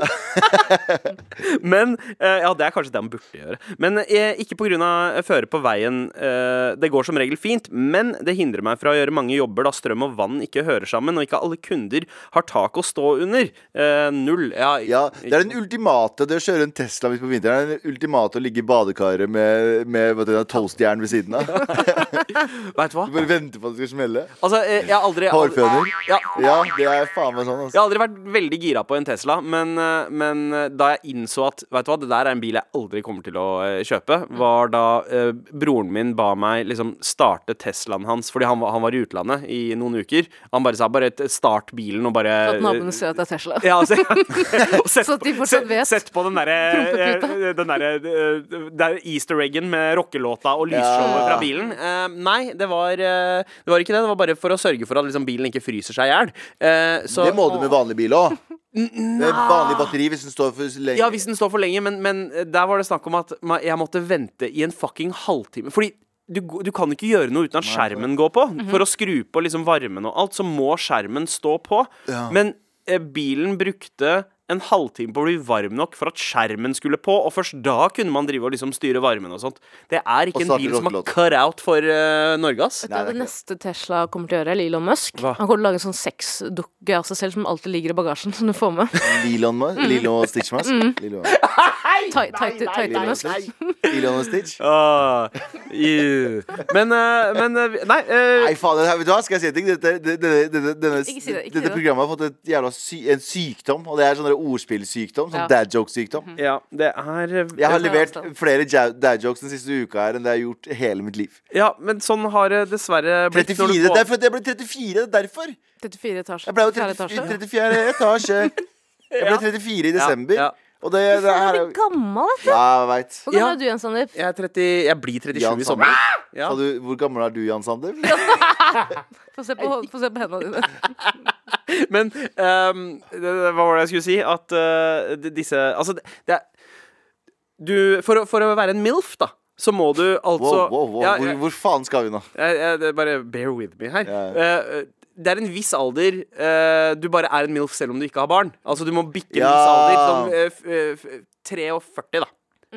[SPEAKER 2] Men eh, Ja, det er kanskje det man burde gjøre. Men eh, ikke pga. føre på veien. eh, det går som regel fint, men det hindrer meg fra å gjøre mange jobber da strøm og vann ikke hører sammen, og ikke alle kunder har tak å stå under. Eh, null. Ja,
[SPEAKER 4] Ja, det er den ultimate det å kjøre en Tesla midt på vinteren. er Den ultimate å ligge i badekaret med, med vet du, en toastjern ved siden av.
[SPEAKER 2] Vet du hva?
[SPEAKER 4] Du bare venter på at det skal smelle.
[SPEAKER 2] Altså, eh, jeg har aldri
[SPEAKER 4] Hårføner.
[SPEAKER 2] Ja.
[SPEAKER 4] Ja, det er faen meg sånn,
[SPEAKER 2] Jeg
[SPEAKER 4] altså.
[SPEAKER 2] har aldri vært veldig gira på en Tesla, men, eh, men eh, da jeg innså at vet du hva, det der er en bil jeg aldri kommer til å eh, kjøpe,
[SPEAKER 3] Mm.
[SPEAKER 2] var da eh, broren min ba meg liksom starte Teslaen hans, fordi han, var- han var i utlandet i noen uker. Han bare sa bare t- start bilen og bare
[SPEAKER 3] Sånn
[SPEAKER 2] eh,
[SPEAKER 3] At naboene ser at det er Tesla.
[SPEAKER 2] ja,
[SPEAKER 3] [LAUGHS]
[SPEAKER 2] altså, [LAUGHS] og sett,
[SPEAKER 3] Så at de
[SPEAKER 2] på-
[SPEAKER 3] fortsatt
[SPEAKER 2] se-
[SPEAKER 3] vet.
[SPEAKER 2] sett på den derre
[SPEAKER 3] Prompeputa.
[SPEAKER 2] den derre, eh, der Easter eggen med rockelåta og lysshowet fra bilen. Eh, nei, det var, eh, det var ikke det. Det var bare for å sørge for at liksom, bilen ikke fryser seg i hjel. Eh, så- ah.
[SPEAKER 4] Det må du med vanlig bil òg. Vanlig batteri hvis den står for så lenge.
[SPEAKER 2] Ja, hvis den står for lenge, men, men der var det snakk om at ma- jeg måtte vente i en fucking halvtime. Fordi du, g- du kan ikke gjøre noe uten at skjermen går på. For å skru på liksom varmen og alt, så må skjermen stå på. Men eh, bilen brukte en halvtime på å bli varm nok for at skjermen skulle på, og først da kunne man drive og liksom styre varmen og sånt. Det er
[SPEAKER 4] Og
[SPEAKER 2] ikke en
[SPEAKER 4] starte
[SPEAKER 2] bil som har
[SPEAKER 4] rockelåten.
[SPEAKER 2] cut out for eh, Norge, ass.
[SPEAKER 3] Vet du hva det neste Tesla kommer til å gjøre, er Elon Musk.
[SPEAKER 2] Hva?
[SPEAKER 3] Han kommer til å lage en sånn sexdukke av seg selv som alltid ligger i bagasjen, [LAUGHS] som du får med.
[SPEAKER 4] Lilon Musk?
[SPEAKER 2] Mm.
[SPEAKER 4] Lilo og Stitch Musk? Lilo
[SPEAKER 3] Ti- Titan Titan
[SPEAKER 4] Lilo og
[SPEAKER 3] Musk.
[SPEAKER 4] Stitch? Lilo og Stitch?
[SPEAKER 2] Ah, ew. men, eh, men eh, Nei. eh,
[SPEAKER 4] Nei, faen, det her- vet du hva? Skal jeg si en ting? Dette, det- det- det- det- denne,
[SPEAKER 3] Ikke si det, ikke si
[SPEAKER 4] dette
[SPEAKER 3] det.
[SPEAKER 4] programmet har fått et jævla sy en sykdom, og det er sånn der ordspillsykdom. Sånn
[SPEAKER 3] Ja. Mhm.
[SPEAKER 4] dad joke-sykdom.
[SPEAKER 2] ja, det er eh,
[SPEAKER 4] Jeg har
[SPEAKER 3] Det er
[SPEAKER 4] levert
[SPEAKER 3] avstand.
[SPEAKER 4] flere ja- dad jokes den siste uka her enn det jeg har gjort hele mitt liv.
[SPEAKER 2] Ja, men sånn har det dessverre blitt
[SPEAKER 4] 34, det
[SPEAKER 2] når
[SPEAKER 4] er
[SPEAKER 2] du får-
[SPEAKER 4] derfor at jeg ble 34, det er derfor.
[SPEAKER 3] 34 etasjer.
[SPEAKER 4] Jeg ble jo
[SPEAKER 3] Fjerde
[SPEAKER 4] 34,
[SPEAKER 3] etasje.
[SPEAKER 4] 34 etasje. Jeg ble 34 i desember.
[SPEAKER 2] ja.
[SPEAKER 4] Og det, det her
[SPEAKER 3] Du
[SPEAKER 4] er
[SPEAKER 3] er gammel, vet du.
[SPEAKER 4] Ja, jeg veit.
[SPEAKER 3] Hvor gammel
[SPEAKER 2] Ja.
[SPEAKER 3] er du igjen, Sandeep?
[SPEAKER 2] Jeg, er 30, jeg blir 37
[SPEAKER 4] Jan
[SPEAKER 2] i sommer.
[SPEAKER 4] Sandberg.
[SPEAKER 2] Ja.
[SPEAKER 4] Sa du- Hvor gammel er du, Jan Sander?
[SPEAKER 3] Få se på, få se på hendene dine.
[SPEAKER 2] [LAUGHS] Men ehm, det, det- hva var det jeg skulle si? At eh, d- disse Altså, det, det er Du for, å- for å være en MILF, da, så må du
[SPEAKER 4] Wow,
[SPEAKER 2] altså
[SPEAKER 4] wow, wow.
[SPEAKER 2] Ja,
[SPEAKER 4] Hvor,
[SPEAKER 2] jeg-
[SPEAKER 4] hvor faen skal vi nå?
[SPEAKER 2] jeg- jeg- det er bare bear with me her.
[SPEAKER 4] Ja.
[SPEAKER 2] Eh, eh, det er en viss alder eh, du bare er en MILF selv om du ikke har barn. Altså Du må bikke en
[SPEAKER 4] Ja.
[SPEAKER 2] viss alder. Som, eh, f- eh, f- 43, da.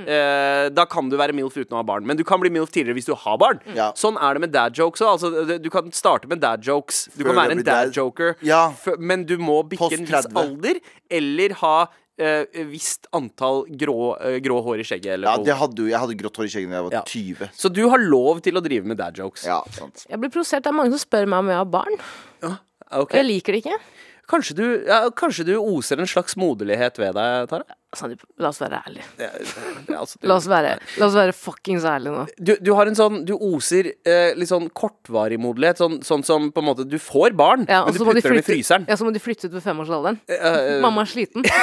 [SPEAKER 2] Eh, da kan du være MILF uten å ha barn. Men du kan bli MILF tidligere hvis du har barn.
[SPEAKER 4] Ja.
[SPEAKER 2] Sånn er det med dad jokes òg. Altså, det- du kan starte med dad jokes. Du
[SPEAKER 4] Før
[SPEAKER 2] kan være
[SPEAKER 4] det
[SPEAKER 2] en
[SPEAKER 4] blir
[SPEAKER 2] dad
[SPEAKER 4] dad.
[SPEAKER 2] joker,
[SPEAKER 4] Ja.
[SPEAKER 2] Fø- men du må bikke
[SPEAKER 4] Post
[SPEAKER 2] en viss
[SPEAKER 4] 30.
[SPEAKER 2] alder. Eller ha eh, visst antall grå, eh, grå hår i skjegget. Eller
[SPEAKER 4] Ja,
[SPEAKER 2] noe.
[SPEAKER 4] det hadde, jo- jeg hadde grått hår i skjegget da jeg var
[SPEAKER 2] Ja.
[SPEAKER 4] 20.
[SPEAKER 2] Så du har lov til å drive med dad jokes.
[SPEAKER 4] Ja, sant
[SPEAKER 3] Jeg blir provosert. Det er mange som spør meg om jeg har barn. Og
[SPEAKER 2] Ok.
[SPEAKER 3] jeg liker det ikke.
[SPEAKER 2] Kanskje, du, ja, kanskje du oser en slags moderlighet ved deg, Tara?
[SPEAKER 3] Sandeep, la oss være ærlige.
[SPEAKER 2] Ja, altså, du-
[SPEAKER 3] La oss være, la oss være fuckings ærlige nå.
[SPEAKER 2] du, du har en sånn Du oser eh, litt sånn kortvarig modelighet. Sånn, sånn som på en måte Du får barn,
[SPEAKER 3] Ja, og
[SPEAKER 2] men du
[SPEAKER 3] så må de
[SPEAKER 2] putter dem i
[SPEAKER 3] flytte-
[SPEAKER 2] fryseren.
[SPEAKER 3] Ja, så må de flytte ut ved femårsalderen.
[SPEAKER 2] eh,
[SPEAKER 3] Mamma er sliten.
[SPEAKER 2] [LAUGHS]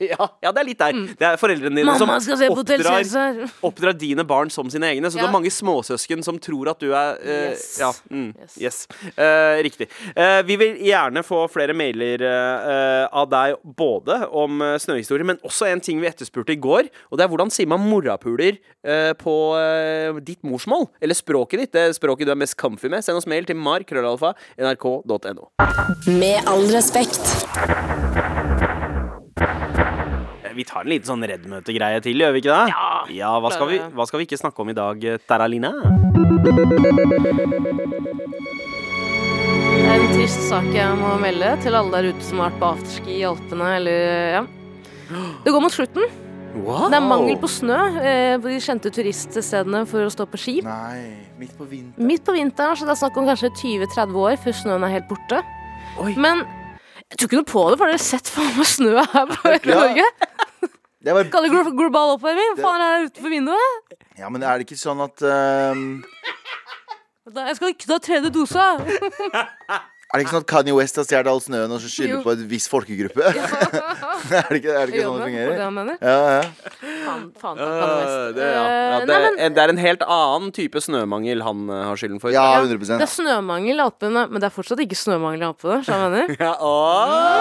[SPEAKER 2] Ja, ja, det er litt der. Det er foreldrene dine
[SPEAKER 3] Mm. Mamma skal se på Hotell
[SPEAKER 2] oppdrar,
[SPEAKER 3] Cæsar.
[SPEAKER 2] oppdrar dine barn som sine egne. Så du
[SPEAKER 3] Ja.
[SPEAKER 2] har mange småsøsken som tror at du er eh,
[SPEAKER 3] Yes.
[SPEAKER 2] Ja. Mm, yes.
[SPEAKER 3] Yes.
[SPEAKER 2] Eh, riktig. Eh, vi vil gjerne få flere mailer eh, eh, av deg både om eh, snøhistorier, men også en ting vi etterspurte i går. Og det er hvordan sier man morapuler eh, på eh, ditt morsmål? Eller språket ditt? Det språket du er mest comfy med. Send oss mail til markrøllalfa nrk.no.
[SPEAKER 1] Med all respekt.
[SPEAKER 2] Eh, Vi tar en liten sånn reddmøtegreie til, gjør vi ikke det? Ja, hva, skal vi,
[SPEAKER 3] klarer det.
[SPEAKER 2] hva skal vi ikke snakke om i dag, eh, Taralina?
[SPEAKER 3] Det er en trist sak jeg må melde til alle der ute som har vært på afterski i Alpene, eller ja. Det går mot slutten. Det er mangel på snø eh, på de kjente turiststedene for å stå på ski.
[SPEAKER 4] Nei, midt på vinteren
[SPEAKER 3] Midt på vinteren, så det er snakk om kanskje 20-30 år før snøen er helt borte.
[SPEAKER 2] Oi.
[SPEAKER 3] Men Jeg tror ikke noe på det, for dere har sett faen meg snø her på hele
[SPEAKER 4] Ja.
[SPEAKER 3] Norge.
[SPEAKER 4] Det var,
[SPEAKER 3] Kaller det glo- global oppvarming. Hva faen er det her utenfor vinduet?
[SPEAKER 4] ja, men er det ikke sånn at ehm,
[SPEAKER 3] Da, jeg skal ikke ta tredje dosa.
[SPEAKER 4] Er det ikke sånn at Kanye West har stjålet all snøen og så skylder
[SPEAKER 3] Jo.
[SPEAKER 4] på en viss folkegruppe? [LAUGHS] er det ikke, er det ikke sånn det
[SPEAKER 3] Jobben, det
[SPEAKER 4] fungerer?
[SPEAKER 3] han mener.
[SPEAKER 4] Ja, ja.
[SPEAKER 3] Faen, faen,
[SPEAKER 2] Øh,
[SPEAKER 3] takk, Kanye West.
[SPEAKER 2] det, ja. Ja,
[SPEAKER 3] Eh,
[SPEAKER 2] det,
[SPEAKER 3] nei, men-
[SPEAKER 2] eh, det er en helt annen type snømangel han eh, har skylden for.
[SPEAKER 4] ja,
[SPEAKER 3] Ja, Det
[SPEAKER 4] 100
[SPEAKER 3] er snømangel i Alpene, men det er fortsatt ikke snømangel i Alpene. Så jeg
[SPEAKER 2] [LAUGHS]
[SPEAKER 3] mener.
[SPEAKER 2] [LAUGHS] Ja,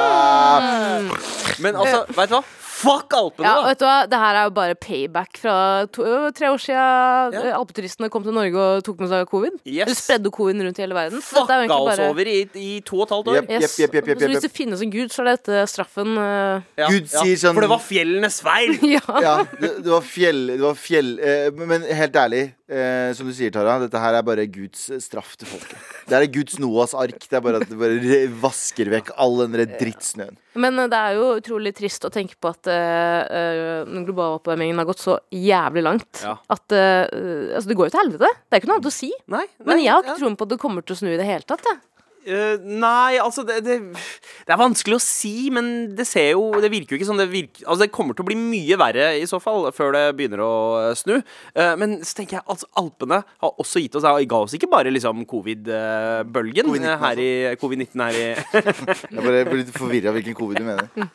[SPEAKER 2] åh. Men altså, veit du hva? Fuck Alpene,
[SPEAKER 3] Mm.
[SPEAKER 2] da!
[SPEAKER 3] Eh. Ja, vet du hva, Det her er jo bare payback fra to, ø, tre år siden ø, alpeturistene kom til Norge og tok med seg covid.
[SPEAKER 2] Yes.
[SPEAKER 3] Eller spredde covid rundt i hele verden. Så dette
[SPEAKER 2] Fucka
[SPEAKER 3] er jo egentlig
[SPEAKER 2] oss
[SPEAKER 3] bare-
[SPEAKER 2] over i, i to og et halvt år.
[SPEAKER 4] Jepp.
[SPEAKER 3] Yes.
[SPEAKER 4] Jepp, jepp, jepp, jepp,
[SPEAKER 3] Så hvis
[SPEAKER 4] jepp.
[SPEAKER 3] det finnes en gud, så er dette straffen. ø,
[SPEAKER 2] Ja,
[SPEAKER 4] Gud
[SPEAKER 2] ja.
[SPEAKER 4] sier sånn-
[SPEAKER 2] For det var fjellenes feil!
[SPEAKER 3] [LAUGHS] ja.
[SPEAKER 4] [LAUGHS] Ja, det, det var fjell, det var fjell eh, Men helt ærlig, eh, som du sier, Tara, dette her er bare Guds eh, straff til folket. Det er Guds Noas ark. Det er bare at det bare re- vasker vekk all den der drittsnøen.
[SPEAKER 3] Men ø, det er jo utrolig trist å tenke på at ø, ø, den globale oppvarmingen har gått så jævlig langt
[SPEAKER 2] Ja.
[SPEAKER 3] at ø, ø, Altså, det går jo til helvete. Det er ikke noe annet å si.
[SPEAKER 2] Nei,
[SPEAKER 3] Men
[SPEAKER 2] nei,
[SPEAKER 3] jeg har ikke
[SPEAKER 2] ja.
[SPEAKER 3] troen på at det kommer til å snu i det hele tatt. Jeg.
[SPEAKER 2] Eh, nei, altså det, det, det er vanskelig å si, men det ser jo Det virker jo ikke som det virker Altså det kommer til å bli mye verre i så fall, før det begynner å eh, snu. Eh, men så tenker jeg altså Alpene har også gitt oss Ga oss ikke bare liksom covid-bølgen
[SPEAKER 4] COVID-19
[SPEAKER 2] eh, her i Covid-19 her i [LAUGHS]
[SPEAKER 4] Jeg bare blir litt forvirra hvilken covid du mener.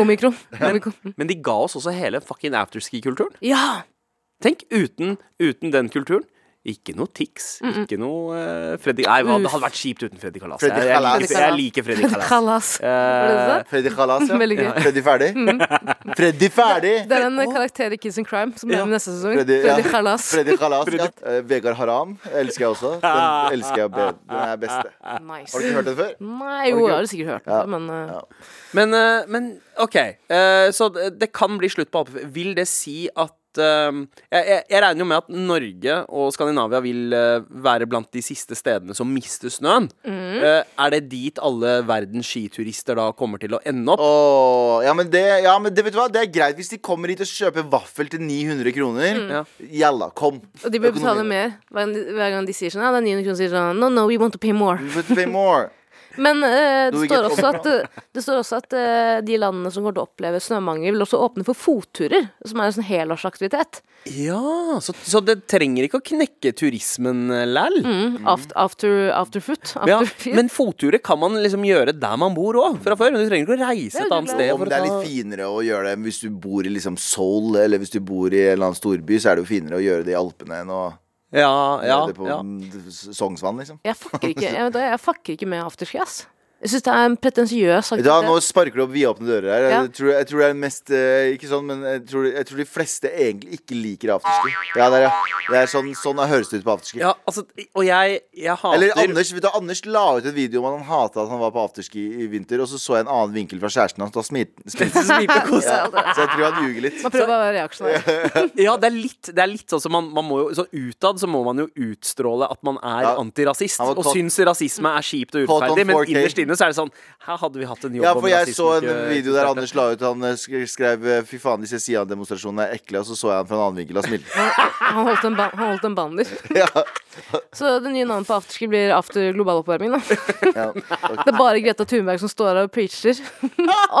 [SPEAKER 3] Omikron. Omikron.
[SPEAKER 2] [LAUGHS] Men de ga oss også hele fucking afterski-kulturen.
[SPEAKER 3] Ja!
[SPEAKER 2] Tenk uten, uten den kulturen. Ikke noe Tix, ikke noe eh, Freddy Nei, det hadde vært kjipt uten Freddy Kalas. Jeg,
[SPEAKER 4] Freddy
[SPEAKER 2] jeg,
[SPEAKER 4] Kalas.
[SPEAKER 2] liker, jeg liker Freddy Kalas.
[SPEAKER 3] Kalas. Var det det du sa?
[SPEAKER 2] Eh,
[SPEAKER 4] Freddy Kalas, ja.
[SPEAKER 3] Veldig gøy. Mm.
[SPEAKER 4] Freddy ferdig? Freddy ferdig!
[SPEAKER 3] Det er en eh, karakter i Kids and Crime som blir med neste sesong.
[SPEAKER 4] Freddy-
[SPEAKER 3] Freddy,
[SPEAKER 4] ja.
[SPEAKER 3] Kalas.
[SPEAKER 4] Freddy Kalas, ja. Eh, Vegard Haram elsker jeg også. Den elsker jeg bedre. Den er beste. Har du
[SPEAKER 3] Nice.
[SPEAKER 4] ikke hørt den før?
[SPEAKER 3] Nei, jo, jeg har sikkert hørt det,
[SPEAKER 4] Ja.
[SPEAKER 3] men eh,
[SPEAKER 4] Ja.
[SPEAKER 2] Men, eh, men OK. eh, Så det det kan bli slutt på alpefeber. Vil det si at eh, jeg, jeg- jeg regner jo med at Norge og Skandinavia vil eh, være blant de siste stedene som mister snøen.
[SPEAKER 3] Mhm.
[SPEAKER 2] Eh, Er det dit alle verdens skiturister da kommer til å ende opp?
[SPEAKER 4] Åh, ja, men, det, ja, men det, vet du hva? det er greit hvis de kommer hit og kjøper vaffel til 900 kroner.
[SPEAKER 2] Ja.
[SPEAKER 4] Jalla, kom.
[SPEAKER 3] Mm. Og de bør betale
[SPEAKER 4] Økonomi.
[SPEAKER 3] mer hver, hver gang de sier sånn. Ja, det er 900 kroner, sier sånn No, no, we want to pay more.
[SPEAKER 4] You should pay
[SPEAKER 2] [LAUGHS]
[SPEAKER 4] more.
[SPEAKER 3] Men eh,
[SPEAKER 4] Do we
[SPEAKER 3] det, står
[SPEAKER 4] get
[SPEAKER 3] også at, eh, det står også at eh, de landene som går til å oppleve snømangel, vil også åpne for fotturer, som er en sånn helårsaktivitet.
[SPEAKER 2] Ja, så, så det trenger ikke å knekke turismen eh, læl.
[SPEAKER 3] Mm. After, after, afterfoot.
[SPEAKER 2] Ja,
[SPEAKER 3] Afterfeet.
[SPEAKER 2] men fotturer kan man liksom gjøre der man bor òg, fra før. Du trenger ikke å reise
[SPEAKER 3] er
[SPEAKER 2] et annet
[SPEAKER 3] hyggelig.
[SPEAKER 2] sted.
[SPEAKER 4] Om
[SPEAKER 2] for å
[SPEAKER 4] det er
[SPEAKER 2] ta-
[SPEAKER 4] litt finere å gjøre det hvis du bor i liksom Seoul eller hvis du bor i en eller annen storby, så er det jo finere å gjøre det i Alpene enn å
[SPEAKER 2] Ja, ja,
[SPEAKER 4] gjøre det på
[SPEAKER 2] ja.
[SPEAKER 4] mm, Sognsvann, liksom.
[SPEAKER 3] jeg, fucker ikke, jeg, vet, hva, jeg fucker ikke med afterski, ass. Jeg syns det er en pretensiøs
[SPEAKER 4] Vet du hva, nå
[SPEAKER 3] aktivitet.
[SPEAKER 4] sparker du opp vidåpne dører her.
[SPEAKER 3] Ja.
[SPEAKER 4] Jeg, tror, jeg tror det er den mest eh, Ikke sånn, men jeg tror, jeg tror de fleste egentlig ikke liker afterski. Ja, der, ja. Det er sånn, sånn det høres det ut på afterski.
[SPEAKER 2] ja altså, og jeg, jeg hater
[SPEAKER 4] Eller Anders, vet du, Anders la ut en video om at han hata at han var på afterski i vinter, og så så jeg en annen vinkel fra kjæresten hans. Da smit,
[SPEAKER 2] [LAUGHS]
[SPEAKER 4] smit,
[SPEAKER 2] Smil
[SPEAKER 4] [LAUGHS]
[SPEAKER 2] og kos.
[SPEAKER 4] så jeg tror han ljuger litt.
[SPEAKER 3] Man prøver å være reaksjonær.
[SPEAKER 2] Ja, det er litt, det er litt sånn som man, man må jo så Utad så må man jo utstråle at man er
[SPEAKER 4] Ja.
[SPEAKER 2] antirasist,
[SPEAKER 4] Han var
[SPEAKER 2] og
[SPEAKER 4] caught-
[SPEAKER 2] syns rasisme er kjipt og
[SPEAKER 4] Caught on
[SPEAKER 2] urettferdig, men
[SPEAKER 4] 4K.
[SPEAKER 2] innerst inne så er det sånn Her hadde vi hatt en jobb
[SPEAKER 4] Ja, for
[SPEAKER 2] om
[SPEAKER 4] jeg
[SPEAKER 2] rasisme
[SPEAKER 4] så en
[SPEAKER 2] ikke
[SPEAKER 4] video der
[SPEAKER 2] eksisterte.
[SPEAKER 4] Anders la ut Han eh, sk- skrev eh, 'fy faen, disse Sian-demonstrasjonene er ekle', og så så jeg han fra en annen vinkel og
[SPEAKER 2] [LAUGHS]
[SPEAKER 4] smilte.
[SPEAKER 3] Han holdt en, ba han holdt en banner.
[SPEAKER 4] [LAUGHS] Ja,
[SPEAKER 3] Så det nye navnet på afterski blir after global oppvarming, da.
[SPEAKER 4] ja.
[SPEAKER 3] Det er bare Greta Thunberg som står her og preacher. [LAUGHS]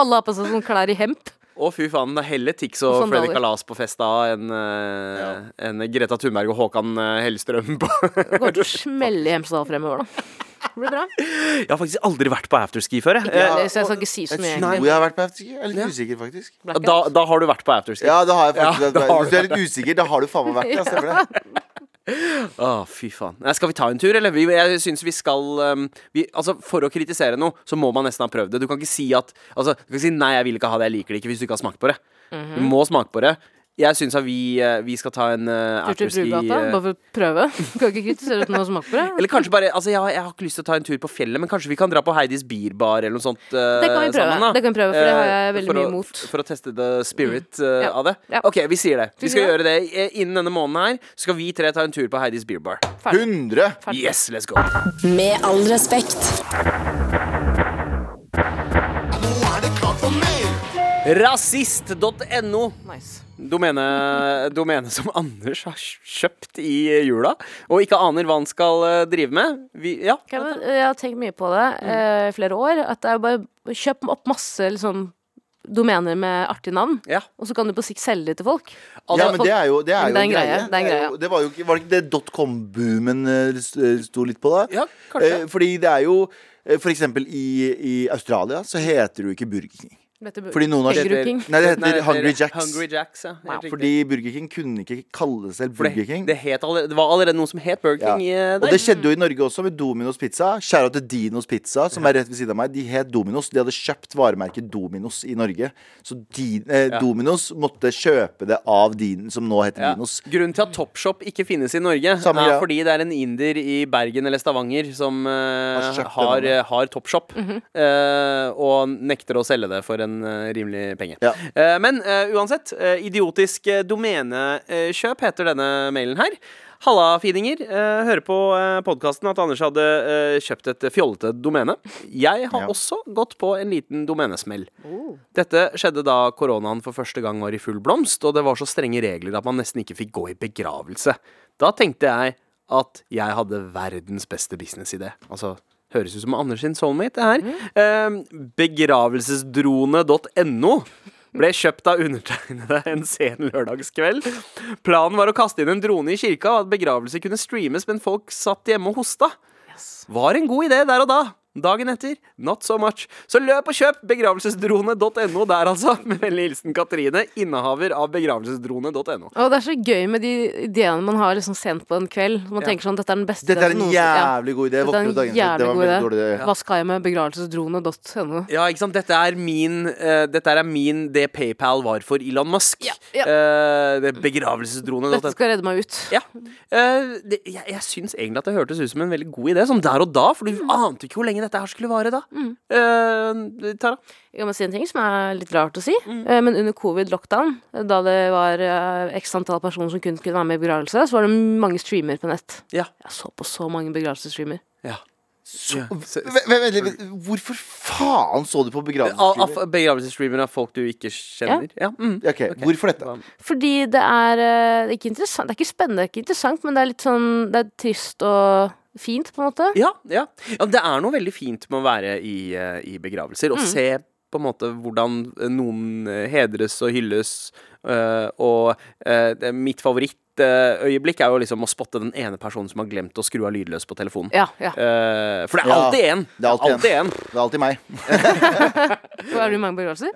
[SPEAKER 3] Alle har på seg sånne klær i hemp.
[SPEAKER 2] Å, fy faen. Det er heller Tix og
[SPEAKER 3] Og sandaler.
[SPEAKER 2] Freddy Kalas på fest da enn eh, enn Greta Thunberg og Håkan eh, Hellstrøm på
[SPEAKER 3] Det kommer til å smelle i Hemsedal fremover, da. Det blir bra.
[SPEAKER 2] [LAUGHS] Jeg har faktisk aldri vært på afterski før, jeg. Eh,
[SPEAKER 3] Eller, så jeg skal ikke si så
[SPEAKER 4] Jeg
[SPEAKER 3] mye,
[SPEAKER 4] tror
[SPEAKER 3] egentlig.
[SPEAKER 4] jeg har vært på afterski. Jeg er litt usikker, faktisk.
[SPEAKER 2] Da, da har du vært på afterski.
[SPEAKER 4] Ja, det har jeg faktisk.
[SPEAKER 2] Ja, da
[SPEAKER 4] vært på.
[SPEAKER 2] har du
[SPEAKER 4] Hvis du er litt usikker, da har du faen meg vært det.
[SPEAKER 2] [LAUGHS]
[SPEAKER 4] Stemmer det?
[SPEAKER 2] Å, fy faen. Nei, skal vi ta en tur, eller? Vi, jeg syns vi skal um, vi, Altså, for å kritisere noe, så må man nesten ha prøvd det. Du kan ikke si at Altså, du kan ikke si 'nei, jeg vil ikke ha det, jeg liker det ikke', hvis du ikke har smakt på det.
[SPEAKER 3] Mhm.
[SPEAKER 2] Du må smake på det. Jeg syns at vi, eh, vi skal ta en uh,
[SPEAKER 3] Tur til
[SPEAKER 2] afterski
[SPEAKER 3] Brugata,
[SPEAKER 2] eh,
[SPEAKER 3] bare for å prøve. Kan ikke kritisere uten å smake på det.
[SPEAKER 2] Eller kanskje bare Altså, jeg, har- jeg har ikke lyst til å ta en tur på fjellet, men kanskje vi kan dra på Heidis Bierbar eller noe sånt eh,
[SPEAKER 3] Det kan vi prøve.
[SPEAKER 2] sammen, da.
[SPEAKER 3] Det kan vi prøve, for det har
[SPEAKER 2] Eh,
[SPEAKER 3] jeg veldig
[SPEAKER 2] for å-
[SPEAKER 3] mye imot. Mm.
[SPEAKER 2] For å teste the spirit eh,
[SPEAKER 3] Ja.
[SPEAKER 2] av det.
[SPEAKER 3] Ja.
[SPEAKER 2] OK, vi sier det. Vi
[SPEAKER 3] Skal vi
[SPEAKER 2] skal
[SPEAKER 3] gjøre
[SPEAKER 2] gjøre det eh, innen denne måneden her. Så skal vi tre ta en tur på Heidis Bierbar.
[SPEAKER 4] 100!
[SPEAKER 2] Yes, let's go.
[SPEAKER 1] Med all respekt.
[SPEAKER 5] Ja, nå er det klart for mer.
[SPEAKER 2] Rasist.no.
[SPEAKER 3] Nice.
[SPEAKER 2] Domene, domene som Anders har kjøpt i jula, og ikke aner hva han skal eh, drive med. Vi, ja.
[SPEAKER 3] Kan Jeg, jeg har tenkt mye på det eh, i flere år. At det er bare Kjøp opp masse liksom, domener med artige navn,
[SPEAKER 2] ja.
[SPEAKER 3] og så kan du på sikt selge det til folk.
[SPEAKER 4] Ja, men det er jo, det er jo
[SPEAKER 3] Det er en
[SPEAKER 4] en greie.
[SPEAKER 3] greie, det er en greie, ja.
[SPEAKER 4] jo- det var, jo, ikke- var det ikke det dotcom-boomen eh, st- sto litt på da?
[SPEAKER 2] Ja, kanskje.
[SPEAKER 4] Eh, Fordi det er jo eh, For eksempel i, i Australia så heter det jo ikke Burger King. Fordi noen har-
[SPEAKER 3] Kangaroo
[SPEAKER 2] Det-
[SPEAKER 3] King.
[SPEAKER 4] Nei, det heter
[SPEAKER 2] Nei,
[SPEAKER 4] Hungry Jacks.
[SPEAKER 2] Hungry Jacks, ja.
[SPEAKER 3] Wow,
[SPEAKER 2] Helt riktig.
[SPEAKER 4] Fordi Burger King kunne ikke kalle seg
[SPEAKER 2] For
[SPEAKER 4] Burger King.
[SPEAKER 2] Det, det, het allerede, det var allerede noe som het Burger
[SPEAKER 4] Ja.
[SPEAKER 2] King eh,
[SPEAKER 4] Og
[SPEAKER 2] der.
[SPEAKER 4] det skjedde jo
[SPEAKER 3] Mm.
[SPEAKER 4] i Norge også, med Dominos pizza. Skjæra til Dinos pizza, som er rett ved siden av meg. De het Dominos. De hadde kjøpt varemerket Dominos i Norge. Så di, eh, Dominos måtte kjøpe det av Din, som nå heter
[SPEAKER 2] ja.
[SPEAKER 4] Dinos.
[SPEAKER 2] Grunnen til at Topshop ikke finnes i Norge,
[SPEAKER 4] Samme
[SPEAKER 2] er
[SPEAKER 4] greia.
[SPEAKER 2] fordi det er en inder i Bergen eller Stavanger som eh,
[SPEAKER 4] Har kjøpt det
[SPEAKER 2] har,
[SPEAKER 4] navnet.
[SPEAKER 2] eh, har Topshop, eh, og nekter å selge det for en eh, rimelig penge.
[SPEAKER 4] Ja.
[SPEAKER 2] Eh, men eh, uansett, eh, idiotisk eh, domenekjøp heter denne mailen her. Halla, fidinger. Eh, hører på eh, podkasten at Anders hadde eh, kjøpt et fjollete domene. Jeg har
[SPEAKER 4] Ja.
[SPEAKER 2] også gått på en liten domenesmell. Dette skjedde da koronaen for første gang var i full blomst, og det var så strenge regler at man nesten ikke fikk gå i begravelse. Da tenkte jeg at jeg hadde verdens beste businessidé. Altså, høres ut som Anders sin soulmate, det her. Eh, begravelsesdrone.no ble kjøpt av undertegnede en sen lørdagskveld. Planen var å kaste inn en drone i kirka, og at begravelse kunne streames, men folk satt hjemme og hosta. Var en god idé der og da. Dagen etter, not so much. Så løp og kjøp begravelsesdrone.no der, altså. Med vennlig hilsen Katrine, innehaver av begravelsesdrone.no.
[SPEAKER 3] Og det er så gøy med de ideene man har liksom sent på en kveld. Man
[SPEAKER 2] Ja.
[SPEAKER 3] tenker sånn, dette er den beste
[SPEAKER 4] Dette er en
[SPEAKER 3] noensinne- ja.
[SPEAKER 4] jævlig god idé.
[SPEAKER 3] Dette er
[SPEAKER 4] Våkner
[SPEAKER 3] en
[SPEAKER 4] opp dagen etter, Det
[SPEAKER 3] jævlig
[SPEAKER 4] var en
[SPEAKER 3] god
[SPEAKER 4] veldig
[SPEAKER 3] idé.
[SPEAKER 4] dårlig idé.
[SPEAKER 3] Hva skal jeg med begravelsesdrone.no?
[SPEAKER 2] Ja, ikke sant? Dette er min, eh, dette er min det PayPal var for Elon Musk.
[SPEAKER 3] Ja, ja.
[SPEAKER 2] Eh, det begravelsesdrone.no.
[SPEAKER 3] Dette skal redde meg ut.
[SPEAKER 2] Ja. Eh, det, jeg jeg syns egentlig at det hørtes ut som en veldig god idé, som der og da, for du ante ikke hvor lenge dette her skulle vare da. Eh, Tara?
[SPEAKER 3] Jeg kan bare si en ting som er litt rart å si.
[SPEAKER 4] Mm.
[SPEAKER 3] Eh, Men under covid-lockdown, da det var eh, x antall personer som kun kunne være med i begravelse, så var det mange streamer på nett.
[SPEAKER 2] Ja.
[SPEAKER 3] Jeg så på så mange begravelsesstreamer.
[SPEAKER 2] ja. Ja.
[SPEAKER 4] Vent, vent, vent, vent, Hvorfor faen så du på
[SPEAKER 2] Av-
[SPEAKER 4] begravelsesfilmer?
[SPEAKER 2] av Begravelsesstreamer av folk du ikke kjenner? Ja. Mm.
[SPEAKER 4] Ok, Hvorfor dette?
[SPEAKER 3] Fordi det er eh, det er ikke interessant, det er ikke spennende, det er ikke interessant, men det er litt sånn Det er trist og fint, på en måte.
[SPEAKER 2] Ja, ja. ja, det er noe veldig fint med å være i, eh, i begravelser. Og se på en måte hvordan eh, noen eh, hedres og hylles. eh, og eh, det er mitt favorittøyeblikk er jo liksom å spotte den ene personen som har glemt å skru av lydløs på telefonen.
[SPEAKER 3] Ja, ja.
[SPEAKER 2] Eh, for det er
[SPEAKER 4] Ja,
[SPEAKER 2] alltid én.
[SPEAKER 4] det er alltid
[SPEAKER 2] en.
[SPEAKER 4] Det er alltid meg.
[SPEAKER 3] Er du i mange begravelser?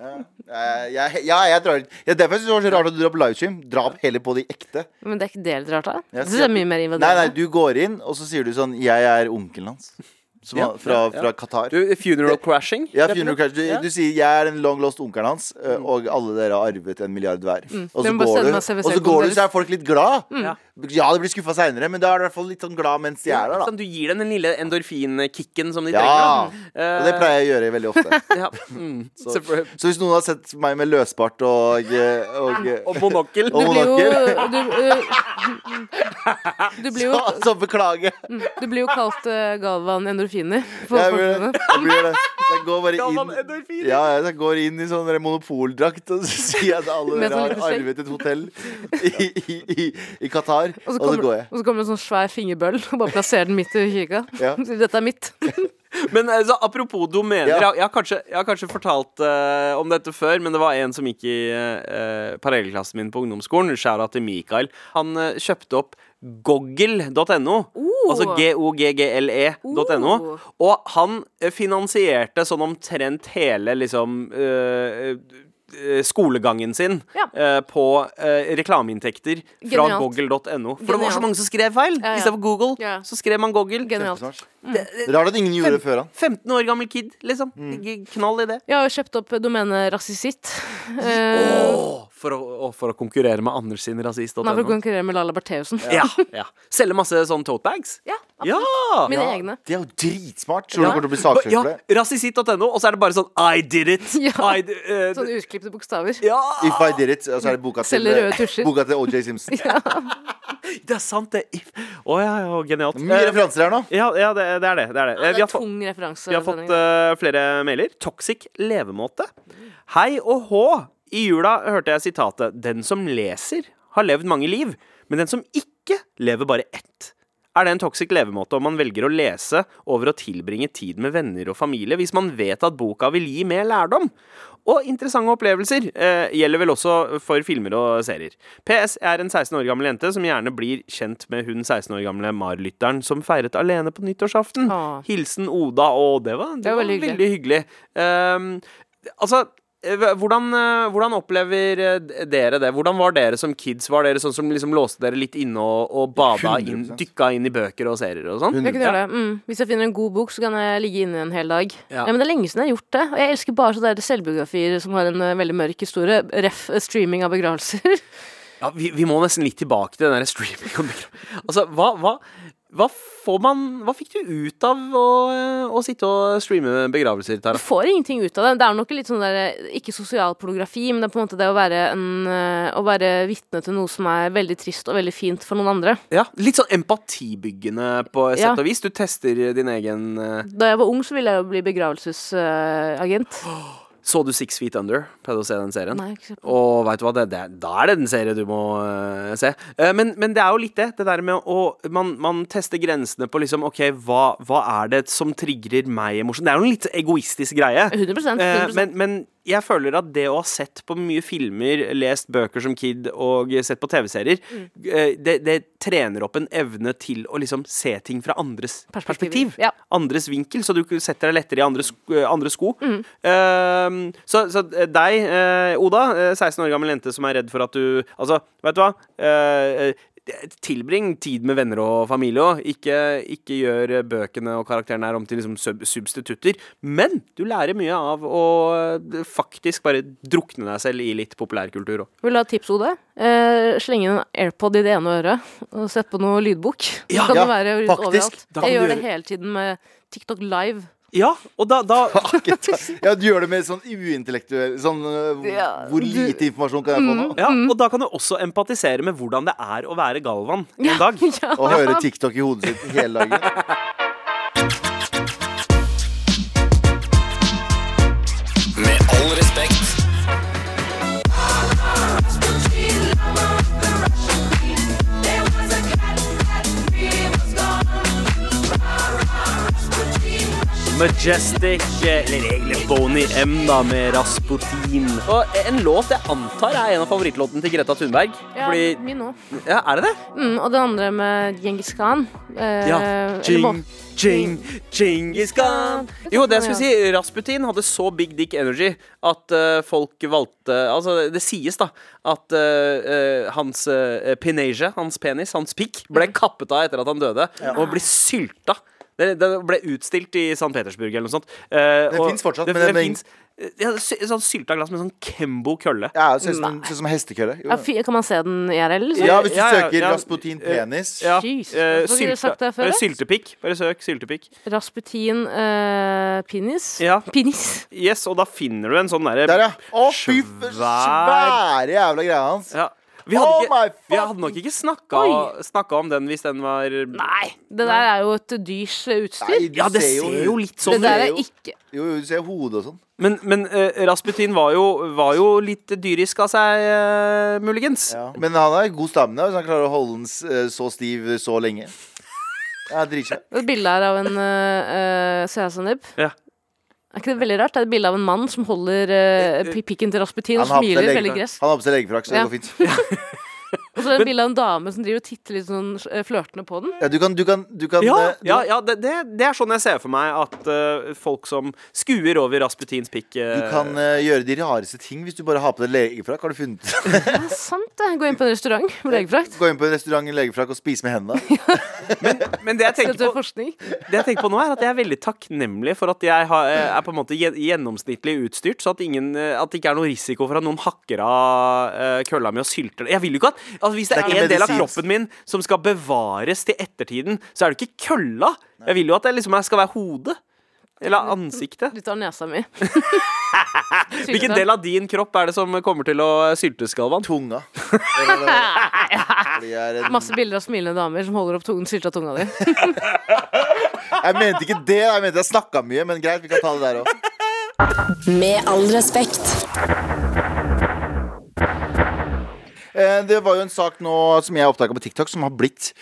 [SPEAKER 4] Eh, Jeg, ja, jeg drar ja, Derfor synes jeg det var så rart at du drar på livestream. Drap heller på de ekte.
[SPEAKER 3] Men det er ikke det litt rart, da?
[SPEAKER 4] Jeg sier
[SPEAKER 3] Jeg synes det
[SPEAKER 4] at-
[SPEAKER 3] er mye mer
[SPEAKER 4] Nei, nei,
[SPEAKER 3] invaderende.
[SPEAKER 4] du går inn, og så sier du sånn Jeg er onkelen hans. Som,
[SPEAKER 2] Ja,
[SPEAKER 4] var- fra,
[SPEAKER 2] ja, ja.
[SPEAKER 4] fra Qatar.
[SPEAKER 2] Du, funeral crashing.
[SPEAKER 4] Ja,
[SPEAKER 2] rett og
[SPEAKER 4] funeral
[SPEAKER 2] slett.
[SPEAKER 4] crash. Du,
[SPEAKER 2] Ja.
[SPEAKER 4] du sier 'jeg er den long lost onkelen hans', ø,
[SPEAKER 3] Mm.
[SPEAKER 4] og alle dere har arvet en milliard hver. Og så
[SPEAKER 3] Den bare
[SPEAKER 4] går
[SPEAKER 3] sender
[SPEAKER 4] du,
[SPEAKER 3] meg CV-selv
[SPEAKER 4] og så,
[SPEAKER 3] på
[SPEAKER 4] går du,
[SPEAKER 3] deres.
[SPEAKER 4] så er folk litt glad.
[SPEAKER 3] Mm.
[SPEAKER 2] Ja.
[SPEAKER 4] Ja, de blir skuffa seinere, men da er du i hvert fall litt sånn glad mens de er der, da.
[SPEAKER 2] Sånn, du gir dem den lille endorfinkicken som de
[SPEAKER 4] Ja,
[SPEAKER 2] trenger.
[SPEAKER 3] Mm.
[SPEAKER 4] og det pleier jeg å gjøre veldig ofte.
[SPEAKER 3] [LAUGHS]
[SPEAKER 2] jeg.
[SPEAKER 4] [LAUGHS]
[SPEAKER 2] Ja. Mm. Selvfølgelig.
[SPEAKER 4] Så hvis noen har sett meg med løsbart og, eh,
[SPEAKER 3] [LAUGHS]
[SPEAKER 4] og, og,
[SPEAKER 2] Og monokkel.
[SPEAKER 4] og
[SPEAKER 3] Du blir
[SPEAKER 4] monokkel,
[SPEAKER 3] jo Du, eh, du blir
[SPEAKER 4] [LAUGHS]
[SPEAKER 3] jo
[SPEAKER 4] så, så beklager jeg.
[SPEAKER 3] Du blir jo kalt eh, Galvan endorfiner. på
[SPEAKER 4] Jeg blir,
[SPEAKER 3] folkemunne.
[SPEAKER 4] jeg blir det. Så jeg går bare
[SPEAKER 2] Galvan
[SPEAKER 4] inn
[SPEAKER 2] endorfiner.
[SPEAKER 4] ja, jeg går inn i sånn der monopoldrakt og så sier jeg at alle
[SPEAKER 3] Med
[SPEAKER 4] dere
[SPEAKER 3] sånn
[SPEAKER 4] har
[SPEAKER 3] liten skjegg.
[SPEAKER 4] arvet et hotell i, i, i, i Qatar,
[SPEAKER 3] Og så
[SPEAKER 4] og så
[SPEAKER 3] kommer,
[SPEAKER 4] går jeg.
[SPEAKER 3] og så kommer det en sånn svær fingerbøll og bare plasserer den midt i kirka.
[SPEAKER 4] Ja.
[SPEAKER 3] [LAUGHS] Sier, Dette er mitt.
[SPEAKER 2] Men altså, apropos domener,
[SPEAKER 4] Ja.
[SPEAKER 2] jeg, jeg, har kanskje, jeg har kanskje fortalt eh, om dette før, men det var en som gikk i eh, eh, parallellklassen min på ungdomsskolen, skjæra til Mikael. Han eh, kjøpte opp goggle.no,
[SPEAKER 3] Oh.
[SPEAKER 2] altså E g-o-g-g-l-e.no, og han eh, finansierte sånn omtrent hele liksom eh, eh, skolegangen sin
[SPEAKER 3] Ja.
[SPEAKER 2] eh, på eh, reklameinntekter fra
[SPEAKER 3] Genialt.
[SPEAKER 2] goggle.no. For det var
[SPEAKER 3] Genialt.
[SPEAKER 2] så mange som skrev feil!
[SPEAKER 3] Ja, ja.
[SPEAKER 2] Istedenfor Google,
[SPEAKER 3] Ja.
[SPEAKER 2] så skrev man Goggle.
[SPEAKER 3] Genialt.
[SPEAKER 4] Smart. Rart at ingen gjorde det før han.
[SPEAKER 2] 15 år gammel kid, liksom.
[SPEAKER 4] Mm.
[SPEAKER 2] G- Knall i det.
[SPEAKER 3] Jeg har jo kjøpt opp domenet Eh, rasisitt.
[SPEAKER 2] for, å, å, for å konkurrere med Anders sin rasist.no.
[SPEAKER 3] for å konkurrere med Lala Bertheussen.
[SPEAKER 2] Ja, ja. Selge masse sånne totebags.
[SPEAKER 3] Ja, absolutt.
[SPEAKER 2] Ja!
[SPEAKER 3] Mine egne.
[SPEAKER 4] Det er jo dritsmart. Tror du
[SPEAKER 2] Ja.
[SPEAKER 4] kommer til å bli saksøkt
[SPEAKER 2] Ja,
[SPEAKER 4] for det?
[SPEAKER 2] rasist.no, og så er det bare sånn I did it!
[SPEAKER 3] [LAUGHS] Ja. Sånn
[SPEAKER 2] I, di- eh,
[SPEAKER 3] Sånne utklipte bokstaver.
[SPEAKER 2] ja.
[SPEAKER 4] If I did it, og så er det boka til, eh,
[SPEAKER 3] Selger røde tusjer.
[SPEAKER 4] boka til OJ
[SPEAKER 3] [LAUGHS]
[SPEAKER 4] Simpson.
[SPEAKER 2] Det er sant, det. If- Å ja, ja, genialt.
[SPEAKER 4] Mye
[SPEAKER 2] Eh,
[SPEAKER 4] referanser her nå.
[SPEAKER 2] Ja, ja det, det er det. det, er det. Eh,
[SPEAKER 3] Det
[SPEAKER 2] vi
[SPEAKER 3] er
[SPEAKER 2] har fått- eh,
[SPEAKER 3] tung referanse.
[SPEAKER 2] Vi har fått
[SPEAKER 3] denne gangen.
[SPEAKER 2] eh, flere mailer. Toxic levemåte. Hei og hå! I jula hørte jeg sitatet 'Den som leser, har levd mange liv', men den som ikke lever bare ett. Er det en toxic levemåte om man velger å lese over å tilbringe tid med venner og familie, hvis man vet at boka vil gi mer lærdom? Og interessante opplevelser eh, gjelder vel også for filmer og serier. PS jeg er en 16 år gammel jente som gjerne blir kjent med hun 16 år gamle Mar-lytteren som feiret alene på nyttårsaften.
[SPEAKER 3] Åh.
[SPEAKER 2] Hilsen Oda. Og det var, det
[SPEAKER 3] var
[SPEAKER 2] var
[SPEAKER 3] veldig hyggelig.
[SPEAKER 2] veldig hyggelig. Ehm, altså eh, hvordan, eh, hvordan opplever eh, dere det? Hvordan var dere som kids? Var dere sånn som liksom låste dere litt inne og, og bada inn,
[SPEAKER 4] 100%.
[SPEAKER 2] dykka inn i bøker og serier og sånn?
[SPEAKER 3] Jeg kan gjøre det. Mm. Hvis jeg finner en god bok, så kan jeg ligge inne en hel dag.
[SPEAKER 2] Ja.
[SPEAKER 3] Ja. men det er lenge siden jeg har gjort det. Og jeg elsker bare sånne der selvbiografier som har en eh, veldig mørk historie. Ref eh, streaming av begravelser. [LAUGHS]
[SPEAKER 2] Ja, vi, vi må nesten litt tilbake til den der streaming. Altså, hva, hva, hva får man Hva fikk du ut av å, eh, å sitte og streame begravelser,
[SPEAKER 3] Du
[SPEAKER 2] Tara?
[SPEAKER 3] får ingenting ut av det. Det er nok litt sånn der eh, ikke sosial pornografi, men det er på en måte det å være, en, eh, å være vitne til noe som er veldig trist og veldig fint for noen andre.
[SPEAKER 2] Ja, Litt sånn empatibyggende på sett
[SPEAKER 3] Ja.
[SPEAKER 2] og vis. Du tester din egen eh,
[SPEAKER 3] Da jeg var ung, så ville jeg jo bli eh, begravelsesagent.
[SPEAKER 2] Så du Six Feet Under? Pleide å se den serien?
[SPEAKER 3] Nei, ikke se på.
[SPEAKER 2] Og vet du hva, det, det, da er det den serien du må øh, se. Eh, men, men det er jo litt det. Det der med å Man, man tester grensene på liksom OK, hva, hva er det som trigger meg emosjonelt? Det er jo en litt egoistisk greie.
[SPEAKER 3] 100%,
[SPEAKER 2] Eh,
[SPEAKER 3] 100%.
[SPEAKER 2] men, men jeg føler at det å ha sett på mye filmer, lest bøker som kid og sett på TV-serier, eh, det, det trener opp en evne til å liksom se ting fra andres
[SPEAKER 3] Perspektiv,
[SPEAKER 2] perspektiv.
[SPEAKER 3] ja.
[SPEAKER 2] Andres vinkel, så du setter deg lettere i andre, sk eh, andre sko. Eh, så, så deg, eh, Oda, eh, 16 år gammel jente som er redd for at du Altså, vet du hva? Eh, eh, Tilbring tid med venner og familie òg. Ikke, ikke gjør eh, bøkene og karakterene her om til liksom sub substitutter. Men du lærer mye av å eh, faktisk bare drukne deg selv i litt populærkultur òg.
[SPEAKER 3] Vil du ha et tips, Ode? Eh, slenge inn en AirPod i det ene øret og sette på noe lydbok.
[SPEAKER 2] Ja,
[SPEAKER 3] kan
[SPEAKER 4] ja,
[SPEAKER 3] det være
[SPEAKER 4] faktisk.
[SPEAKER 3] overalt.
[SPEAKER 4] Da kan
[SPEAKER 3] Jeg
[SPEAKER 4] du
[SPEAKER 3] gjør det
[SPEAKER 4] gjøre-
[SPEAKER 3] hele tiden med TikTok Live.
[SPEAKER 2] Ja, og da, [LAUGHS] da
[SPEAKER 4] Ja, du gjør det med sånn uintellektuell Sånn øh,
[SPEAKER 3] Ja, Mm.
[SPEAKER 4] Hvor lite informasjon kan jeg få nå?
[SPEAKER 2] ja, Og da kan du også empatisere med hvordan det er å være Galvan en dag.
[SPEAKER 4] Å høre TikTok i hodet sitt hele dagen.
[SPEAKER 5] Med all respekt.
[SPEAKER 2] Majestic, eller egentlig Boney M da, med Rasputin. Og en låt jeg antar er en av favorittlåtene til Greta Thunberg.
[SPEAKER 3] Ja,
[SPEAKER 2] Fordi,
[SPEAKER 3] min òg.
[SPEAKER 2] ja, er det det?
[SPEAKER 3] Mm, og det andre med Djengis Khan. Eh, eller hva-
[SPEAKER 2] Jing, jing, Genghis Khan. Jo, det jeg skulle si, Rasputin hadde så big dick energy at eh, folk valgte Altså, det sies, da, at eh, eh, hans uh, pineja, hans penis, hans pikk, ble kappet av etter at han døde, og ble sylta. Det, det ble utstilt i St. Petersburg eller noe sånt. Eh,
[SPEAKER 4] Den
[SPEAKER 2] og
[SPEAKER 4] finnes fortsatt,
[SPEAKER 2] det,
[SPEAKER 4] men
[SPEAKER 2] det
[SPEAKER 4] den-
[SPEAKER 2] finnes- ja, sy- Sånn sylta glass med sånn Kembo-kølle.
[SPEAKER 4] Ja, det ser ut som- ser ut som hestekølle. Jo.
[SPEAKER 3] Ja, fy- kan man se den IRL? Liksom?
[SPEAKER 4] Ja, hvis du
[SPEAKER 2] Ja, ja,
[SPEAKER 4] søker
[SPEAKER 2] ja. eh,
[SPEAKER 4] Rasputin penis
[SPEAKER 2] Ja,
[SPEAKER 3] Jesus,
[SPEAKER 2] eh,
[SPEAKER 3] hvorfor har dere sagt det før,
[SPEAKER 2] eh,
[SPEAKER 3] da?
[SPEAKER 2] syltepikk. Bare søk syltepikk.
[SPEAKER 3] Rasputin eh, penis.
[SPEAKER 2] Ja.
[SPEAKER 3] Penis.
[SPEAKER 2] Yes, og da finner du en sånn derre
[SPEAKER 4] Der, ja. Å, fy f-
[SPEAKER 2] Svær.
[SPEAKER 4] svære jævla greia hans.
[SPEAKER 2] Ja. Vi hadde,
[SPEAKER 4] Oh my
[SPEAKER 2] ikke, vi hadde nok
[SPEAKER 4] fucking-
[SPEAKER 2] ikke snakka,
[SPEAKER 3] Oi.
[SPEAKER 2] snakka om den hvis den var
[SPEAKER 3] Nei, det der er jo et dyrs eh, utstyr.
[SPEAKER 4] Nei, du
[SPEAKER 2] Ja, det ser jo litt sånn
[SPEAKER 3] det
[SPEAKER 4] det
[SPEAKER 3] der
[SPEAKER 4] er
[SPEAKER 3] er
[SPEAKER 4] jo-
[SPEAKER 3] ikke
[SPEAKER 4] Jo, jo, du ser hodet og sånn.
[SPEAKER 2] Men, men eh, Rasputin var jo, var jo litt dyrisk av seg, eh, muligens.
[SPEAKER 4] [LAUGHS] Men han har god stamina hvis han klarer å holde den s- eh, så stiv så
[SPEAKER 3] [LAUGHS]
[SPEAKER 4] lenge. Ja, dritsvært.
[SPEAKER 3] Det er Et bilde her av en uh, Sandeep.
[SPEAKER 2] Ja.
[SPEAKER 3] Er ikke det veldig rart? Det er et bilde av en mann som holder eh, pi- pikken til Rasputin og
[SPEAKER 4] Han har på seg
[SPEAKER 3] smiler
[SPEAKER 4] lege-
[SPEAKER 3] veldig gress.
[SPEAKER 4] han har på seg legefrakk, så det
[SPEAKER 3] Ja.
[SPEAKER 4] går fint.
[SPEAKER 3] Og så er det et bilde av en dame som driver og titter litt sånn eh, flørtende på den.
[SPEAKER 4] Ja, du kan, du kan, du kan
[SPEAKER 2] Ja,
[SPEAKER 4] eh, du-
[SPEAKER 2] ja, ja det, det, det er sånn jeg ser for meg at eh, folk som skuer over Rasputins
[SPEAKER 4] Du
[SPEAKER 2] pikk eh,
[SPEAKER 4] kan eh, gjøre de rareste ting hvis du bare har på deg legefrakk. Har du funnet [LAUGHS]
[SPEAKER 3] Det er sant, det. Gå inn på en restaurant med legefrakt.
[SPEAKER 4] Gå inn på en restaurant i legefrakk og spise med hendene.
[SPEAKER 2] Men det jeg
[SPEAKER 3] Dette
[SPEAKER 2] tenker
[SPEAKER 3] er
[SPEAKER 2] på
[SPEAKER 3] forskning.
[SPEAKER 2] det jeg tenker på nå er at jeg er veldig takknemlig for at jeg har, eh, er på en måte gjen- gjennomsnittlig utstyrt, så at, ingen, eh, at det ikke er noen risiko for at noen hakker av eh, kølla mi og sylter det. Jeg vil jo ikke at altså Hvis det
[SPEAKER 4] Det
[SPEAKER 2] er
[SPEAKER 4] er ikke
[SPEAKER 2] en del av
[SPEAKER 4] medisinsk.
[SPEAKER 2] kroppen min som skal bevares til ettertiden, så er det ikke kølla. Jeg vil jo at det liksom skal være hodet. Eller ansiktet.
[SPEAKER 3] Du tar
[SPEAKER 2] [LAUGHS]
[SPEAKER 3] nesa mi.
[SPEAKER 2] Hvilken del av din kropp er det som kommer til å syltes, Galvan?
[SPEAKER 3] [LAUGHS]
[SPEAKER 4] Tunga. Fordi jeg, er en,
[SPEAKER 3] Masse bilder av smilende damer som holder opp tungen, sylta tunga di.
[SPEAKER 4] jeg mente ikke det. Jeg mente jeg snakka mye, men greit, vi kan ta det der òg.
[SPEAKER 1] Med all respekt.
[SPEAKER 4] Eh, Det var jo en sak nå som jeg oppdaga på TikTok, som har blitt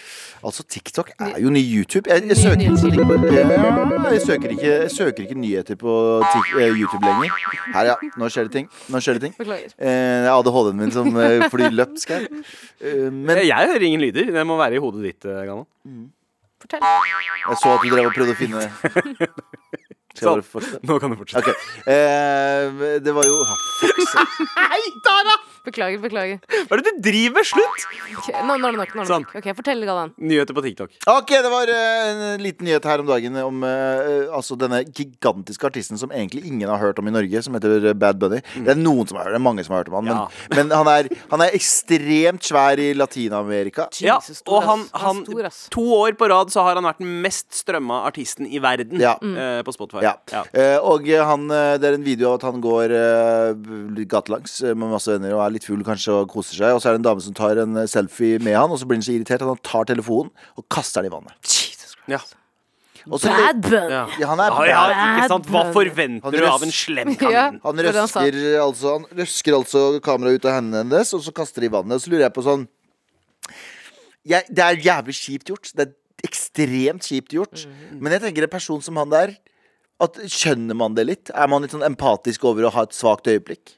[SPEAKER 4] Altså, TikTok er jo ny YouTube. Jeg, jeg, søker, ikke på, ja, jeg, søker, ikke, jeg søker ikke nyheter på Tik- eh, YouTube lenger. Her, ja. Nå skjer det ting. Nå skjer det ting.
[SPEAKER 3] Beklager.
[SPEAKER 4] Eh, Det er ADHD-en min som eh, flyr løpsk her. Eh, Men
[SPEAKER 2] Jeg hører ingen lyder. Det må være i hodet ditt, eh, Galvan.
[SPEAKER 3] Fortell.
[SPEAKER 4] jeg så at du drev og prøvde å finne Skal jeg bare fortsette?
[SPEAKER 2] Nå kan du fortsette.
[SPEAKER 4] Ok. Eh, Det var jo ah, fuck, sake.
[SPEAKER 2] Hei, Tara!
[SPEAKER 3] Beklager, beklager.
[SPEAKER 2] Hva er det du driver med? Slutt!
[SPEAKER 3] Ok, Nå nå er det nok. Nå er det
[SPEAKER 2] Sånn.
[SPEAKER 3] nok. Ok, Fortell, Galvan.
[SPEAKER 2] Nyheter på TikTok.
[SPEAKER 4] Ok, det var eh, en liten nyhet her om dagen om eh, altså denne gigantiske artisten som egentlig ingen har hørt om i Norge, som heter eh, Bad Bunny. Det er noen som har hørt det, er mange som har hørt om han, men,
[SPEAKER 2] Mm.
[SPEAKER 4] [LAUGHS]
[SPEAKER 2] Ja.
[SPEAKER 4] men han, er, han er ekstremt svær i Latin-Amerika.
[SPEAKER 2] Ja,
[SPEAKER 3] Jesus, stor,
[SPEAKER 2] og han,
[SPEAKER 3] ass.
[SPEAKER 2] han,
[SPEAKER 3] er stor, ass.
[SPEAKER 2] To år på rad så har han vært den mest strømma artisten i verden
[SPEAKER 4] Ja.
[SPEAKER 2] eh, på Spotify.
[SPEAKER 4] Ja.
[SPEAKER 2] Ja.
[SPEAKER 4] Eh, og han, eh, det er en video av at han går eh, litt gatelangs eh, med masse venner og er litt full kanskje og koser seg. Og så er det en dame som tar en eh, selfie med han, og så blir han så irritert at han tar telefonen og kaster den i vannet.
[SPEAKER 2] Ja.
[SPEAKER 4] Og så,
[SPEAKER 3] Bad bun!
[SPEAKER 2] Ja.
[SPEAKER 4] Ja, han er
[SPEAKER 2] Ja, ja, ikke
[SPEAKER 3] bad.
[SPEAKER 2] sant? Hva
[SPEAKER 4] Han
[SPEAKER 2] forventer du av
[SPEAKER 4] røs-
[SPEAKER 2] en
[SPEAKER 4] [LAUGHS]
[SPEAKER 2] slem
[SPEAKER 3] Ja,
[SPEAKER 2] kanin?
[SPEAKER 4] Han
[SPEAKER 3] det var det han sa.
[SPEAKER 4] røsker, altså, han røsker altså kameraet ut av hendene hennes, og så kaster de i vannet. Og så lurer jeg på sånn jeg, Det er jævlig kjipt gjort. Det er ekstremt kjipt gjort.
[SPEAKER 3] Mm.
[SPEAKER 4] Men jeg tenker en person som han der at, Skjønner man det litt? Er man litt sånn empatisk over å ha et svakt øyeblikk?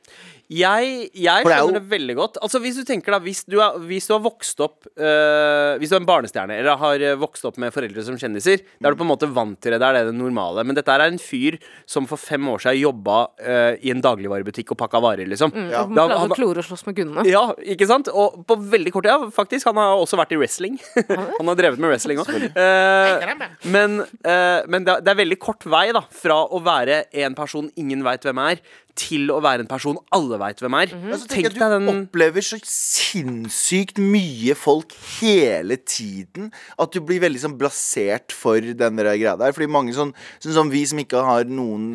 [SPEAKER 2] Jeg, jeg
[SPEAKER 4] For det er
[SPEAKER 2] skjønner
[SPEAKER 4] jo-
[SPEAKER 2] det veldig godt. Altså Hvis du tenker da Hvis du, er, hvis du har vokst opp øh, Hvis du er en barnestjerne eller har øh, vokst opp med foreldre som kjendiser, da er du på en måte vant til det. Da er det det normale. Men dette her er en fyr som for fem år siden jobba øh, i en dagligvarebutikk og pakka varer, liksom.
[SPEAKER 4] Ja.
[SPEAKER 3] Han
[SPEAKER 2] Da-
[SPEAKER 3] pleide
[SPEAKER 2] han-
[SPEAKER 3] å klore og slåss med Gunne.
[SPEAKER 2] Ja, ikke sant? Og på veldig kort tid, ja, faktisk. Han har også vært i wrestling. [LAUGHS] Han har drevet med wrestling òg. men eh, men det, er- det er veldig kort vei da fra å være en person ingen veit hvem er, til å være en person alle veit hvem er.
[SPEAKER 4] Altså, tenk
[SPEAKER 2] Mm. Tenk
[SPEAKER 4] at du
[SPEAKER 2] deg den
[SPEAKER 4] opplever så sinnssykt mye folk hele tiden at du blir veldig sånn blasert for den der greia der. Fordi mange sånn, sånn som vi som ikke har noen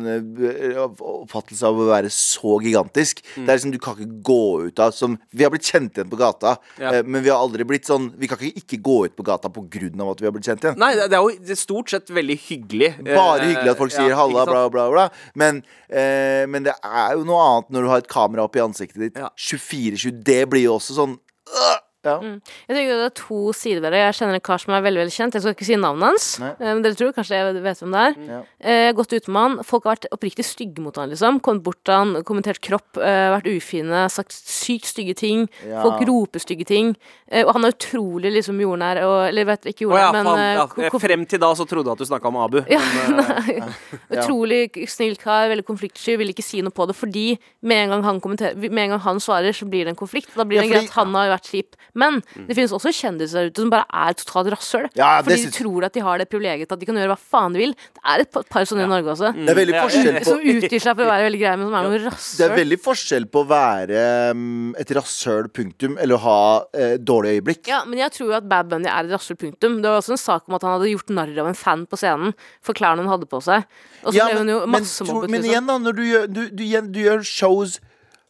[SPEAKER 4] eh, oppfattelse av å være så gigantisk,
[SPEAKER 2] Mm.
[SPEAKER 4] det er liksom du kan ikke gå ut av som Vi har blitt kjent igjen på gata,
[SPEAKER 2] Ja.
[SPEAKER 4] eh, men vi har aldri blitt sånn Vi kan ikke ikke gå ut på gata på grunn av at vi har blitt kjent igjen.
[SPEAKER 2] Nei, det det er jo det er stort sett veldig hyggelig.
[SPEAKER 4] Bare hyggelig at folk sier
[SPEAKER 2] Eh, ja,
[SPEAKER 4] 'halla',
[SPEAKER 2] ikke
[SPEAKER 4] bla,
[SPEAKER 2] sant?
[SPEAKER 4] bla, bla. Men, eh, men det er jo noe annet når du har et kamera opp i ansiktet ditt.
[SPEAKER 2] Ja.
[SPEAKER 4] 24-7, det blir jo også sånn øh, ja.
[SPEAKER 3] Jeg tenker det er to sider ved det. Jeg kjenner en kar som er veldig veldig kjent. Jeg skal ikke si navnet hans.
[SPEAKER 4] Nei. Mm.
[SPEAKER 3] Eh, Men dere tror kanskje jeg vet hvem det er.
[SPEAKER 4] Ja.
[SPEAKER 3] Eh, Jeg har gått ute med han. Folk har vært oppriktig stygge mot han, liksom. Kommet bort til han, kommentert kropp, eh, vært ufine, sagt sykt stygge ting.
[SPEAKER 4] Ja.
[SPEAKER 3] Folk roper stygge ting. Eh, Og han er utrolig liksom jordnær og Eller vet ikke
[SPEAKER 2] Å ja,
[SPEAKER 3] jordnær, men
[SPEAKER 2] faen,
[SPEAKER 3] eh,
[SPEAKER 2] ja.
[SPEAKER 3] ko- ko-
[SPEAKER 2] Frem til da så trodde jeg at du snakka om Abu.
[SPEAKER 3] ja, [LAUGHS]
[SPEAKER 4] eh,
[SPEAKER 3] nei. Utrolig snill kar, veldig konfliktsky, vil ikke si noe på det. Fordi med en gang han, kommenterer- med en gang han svarer, så blir det en konflikt. Da blir
[SPEAKER 4] Ja,
[SPEAKER 3] det en greie
[SPEAKER 4] fordi- Mm.
[SPEAKER 3] at han har vært kjip. Men det finnes også kjendiser der ute som bare er totalt rasshøl.
[SPEAKER 4] Ja, det
[SPEAKER 3] fordi de
[SPEAKER 4] syns-
[SPEAKER 3] tror at de har det privilegiet at de kan gjøre hva faen de vil. Det er et pa- par sånne i Norge også.
[SPEAKER 4] Mm. Det er veldig
[SPEAKER 2] Ja,
[SPEAKER 4] forskjell på
[SPEAKER 3] Som utgir seg for å være veldig greie, men som er noe
[SPEAKER 4] det er
[SPEAKER 3] rasshøl.
[SPEAKER 4] veldig forskjell på å være mm, et rasshøl, punktum, eller å ha eh, dårlig øyeblikk.
[SPEAKER 3] Ja, men jeg tror jo at Bad Bunny er et rasshøl, punktum. Det var også en sak om at han hadde gjort narr av en fan på scenen for klærne hun hadde på seg. Og så
[SPEAKER 4] Ja,
[SPEAKER 3] ble hun jo
[SPEAKER 4] men, tror,
[SPEAKER 3] massemobbet.
[SPEAKER 4] men
[SPEAKER 3] liksom.
[SPEAKER 4] igjen, da, når du gjør, du, du, igjen, du gjør shows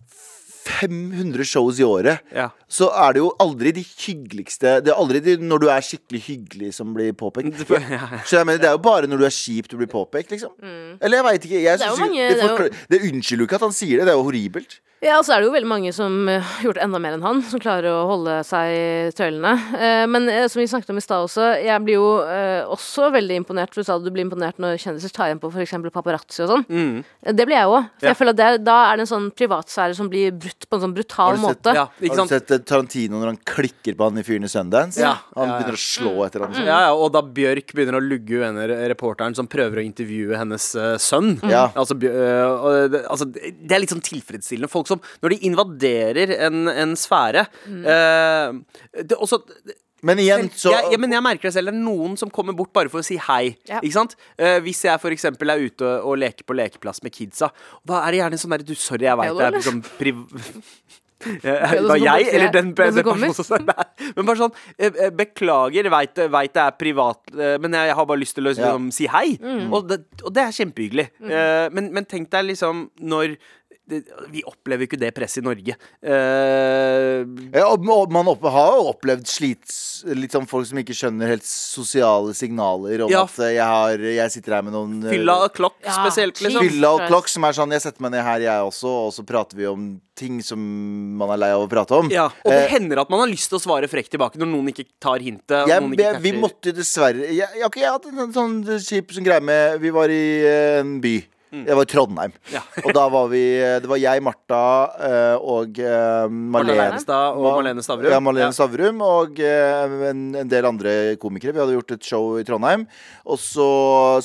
[SPEAKER 4] 500 shows i året,
[SPEAKER 2] Ja.
[SPEAKER 4] så er det jo aldri de hyggeligste Det er aldri de, når du er skikkelig hyggelig, som blir påpekt.
[SPEAKER 3] [LAUGHS]
[SPEAKER 2] Det- ja.
[SPEAKER 4] Så jeg mener, Det er jo bare når du er kjip du blir påpekt, liksom. Eller jeg veit ikke. Jeg
[SPEAKER 3] Mm. Det er jo
[SPEAKER 4] synes jo
[SPEAKER 3] mange-
[SPEAKER 4] det,
[SPEAKER 3] det er jo-
[SPEAKER 4] forklar- det unnskylder jo ikke at han sier det. Det er jo horribelt.
[SPEAKER 3] Ja, og så er det jo veldig mange som eh, har gjort enda mer enn han, som klarer å holde seg i tøylene. Eh, Men eh, som vi snakket om i stad også, jeg blir jo eh, også veldig imponert. Du sa du blir imponert når kjendiser tar igjen på f.eks. paparazzi og sånn.
[SPEAKER 4] Mm.
[SPEAKER 3] Eh, Det blir jeg òg. For jeg føler at det, er- da er det en sånn privatsfære som blir brutt på en sånn
[SPEAKER 4] Har
[SPEAKER 3] brutal
[SPEAKER 4] du sett-
[SPEAKER 3] måte.
[SPEAKER 2] Ja, ikke
[SPEAKER 4] Har du
[SPEAKER 2] sant?
[SPEAKER 4] sett eh, Tarantino når han klikker på han i fyren i Sundance?
[SPEAKER 2] Ja.
[SPEAKER 4] Han
[SPEAKER 2] Ja, ja.
[SPEAKER 4] begynner å slå etter
[SPEAKER 3] Mm.
[SPEAKER 4] han.
[SPEAKER 2] Ja, ja, og da Bjørk begynner å lugge henne, reporteren som prøver å intervjue hennes eh, sønn.
[SPEAKER 4] Ja.
[SPEAKER 2] Altså, Bjør- eh, og det, altså, det er litt sånn tilfredsstillende. Folk som, når de invaderer en, en sfære eh, det, også,
[SPEAKER 4] Men igjen, så
[SPEAKER 2] jeg, ja, men jeg merker det selv. Det er noen som kommer bort bare for å si hei.
[SPEAKER 3] Ja.
[SPEAKER 2] Ikke sant? Eh, hvis jeg for eksempel er ute og, og leker på lekeplass med kidsa, da er det gjerne sånn der Du, sorry, jeg veit det
[SPEAKER 3] Hello,
[SPEAKER 2] er sånn priv...
[SPEAKER 3] [LAUGHS]
[SPEAKER 2] Eh,
[SPEAKER 3] det
[SPEAKER 2] Hva,
[SPEAKER 3] som
[SPEAKER 2] jeg,
[SPEAKER 3] kommer?
[SPEAKER 2] eller den,
[SPEAKER 3] Det som
[SPEAKER 2] den
[SPEAKER 3] kommer?
[SPEAKER 2] personen som sa nei. Men bare sånn eh, eh, Beklager, veit det er privat, eh, men jeg har bare lyst til å
[SPEAKER 4] Ja.
[SPEAKER 3] Mm.
[SPEAKER 2] liksom, si hei. Og, det, og det er kjempehyggelig. Eh, men, men tenk deg liksom når det, Vi opplever jo ikke det presset i Norge. Eh,
[SPEAKER 4] Ja, og- og man opp, har jo opplevd slits, litt sånn folk som ikke skjønner helt sosiale signaler om
[SPEAKER 2] Ja.
[SPEAKER 4] at eh, jeg, har, jeg sitter her med noen eh,
[SPEAKER 2] fylla og klokk
[SPEAKER 3] Ja,
[SPEAKER 2] spesielt, liksom.
[SPEAKER 3] Jesus
[SPEAKER 4] Fylla og
[SPEAKER 3] Christ.
[SPEAKER 4] klokk, som er sånn Jeg setter meg ned her, jeg også, og så prater vi om ting som man er lei av å prate om.
[SPEAKER 2] [LAUGHS] Ja, og det
[SPEAKER 4] Eh,
[SPEAKER 2] hender at man har lyst til å svare frekt tilbake når noen ikke tar hintet. og
[SPEAKER 4] jeg,
[SPEAKER 2] noen ikke
[SPEAKER 4] jeg, vi
[SPEAKER 2] catcher.
[SPEAKER 4] måtte jo dessverre Jeg, jeg har ikke hatt en sånn kjip sånn greie med Vi var i eh, en by. Jeg var i Trondheim.
[SPEAKER 2] Mm. Ja.
[SPEAKER 4] og da var vi Det var jeg, Martha eh, og eh, Marlene.
[SPEAKER 2] Levenstad og Marlene Stavrum.
[SPEAKER 4] Ja, Marlene Stavrum og eh, en, en del andre komikere. Vi hadde gjort et show i Trondheim, og så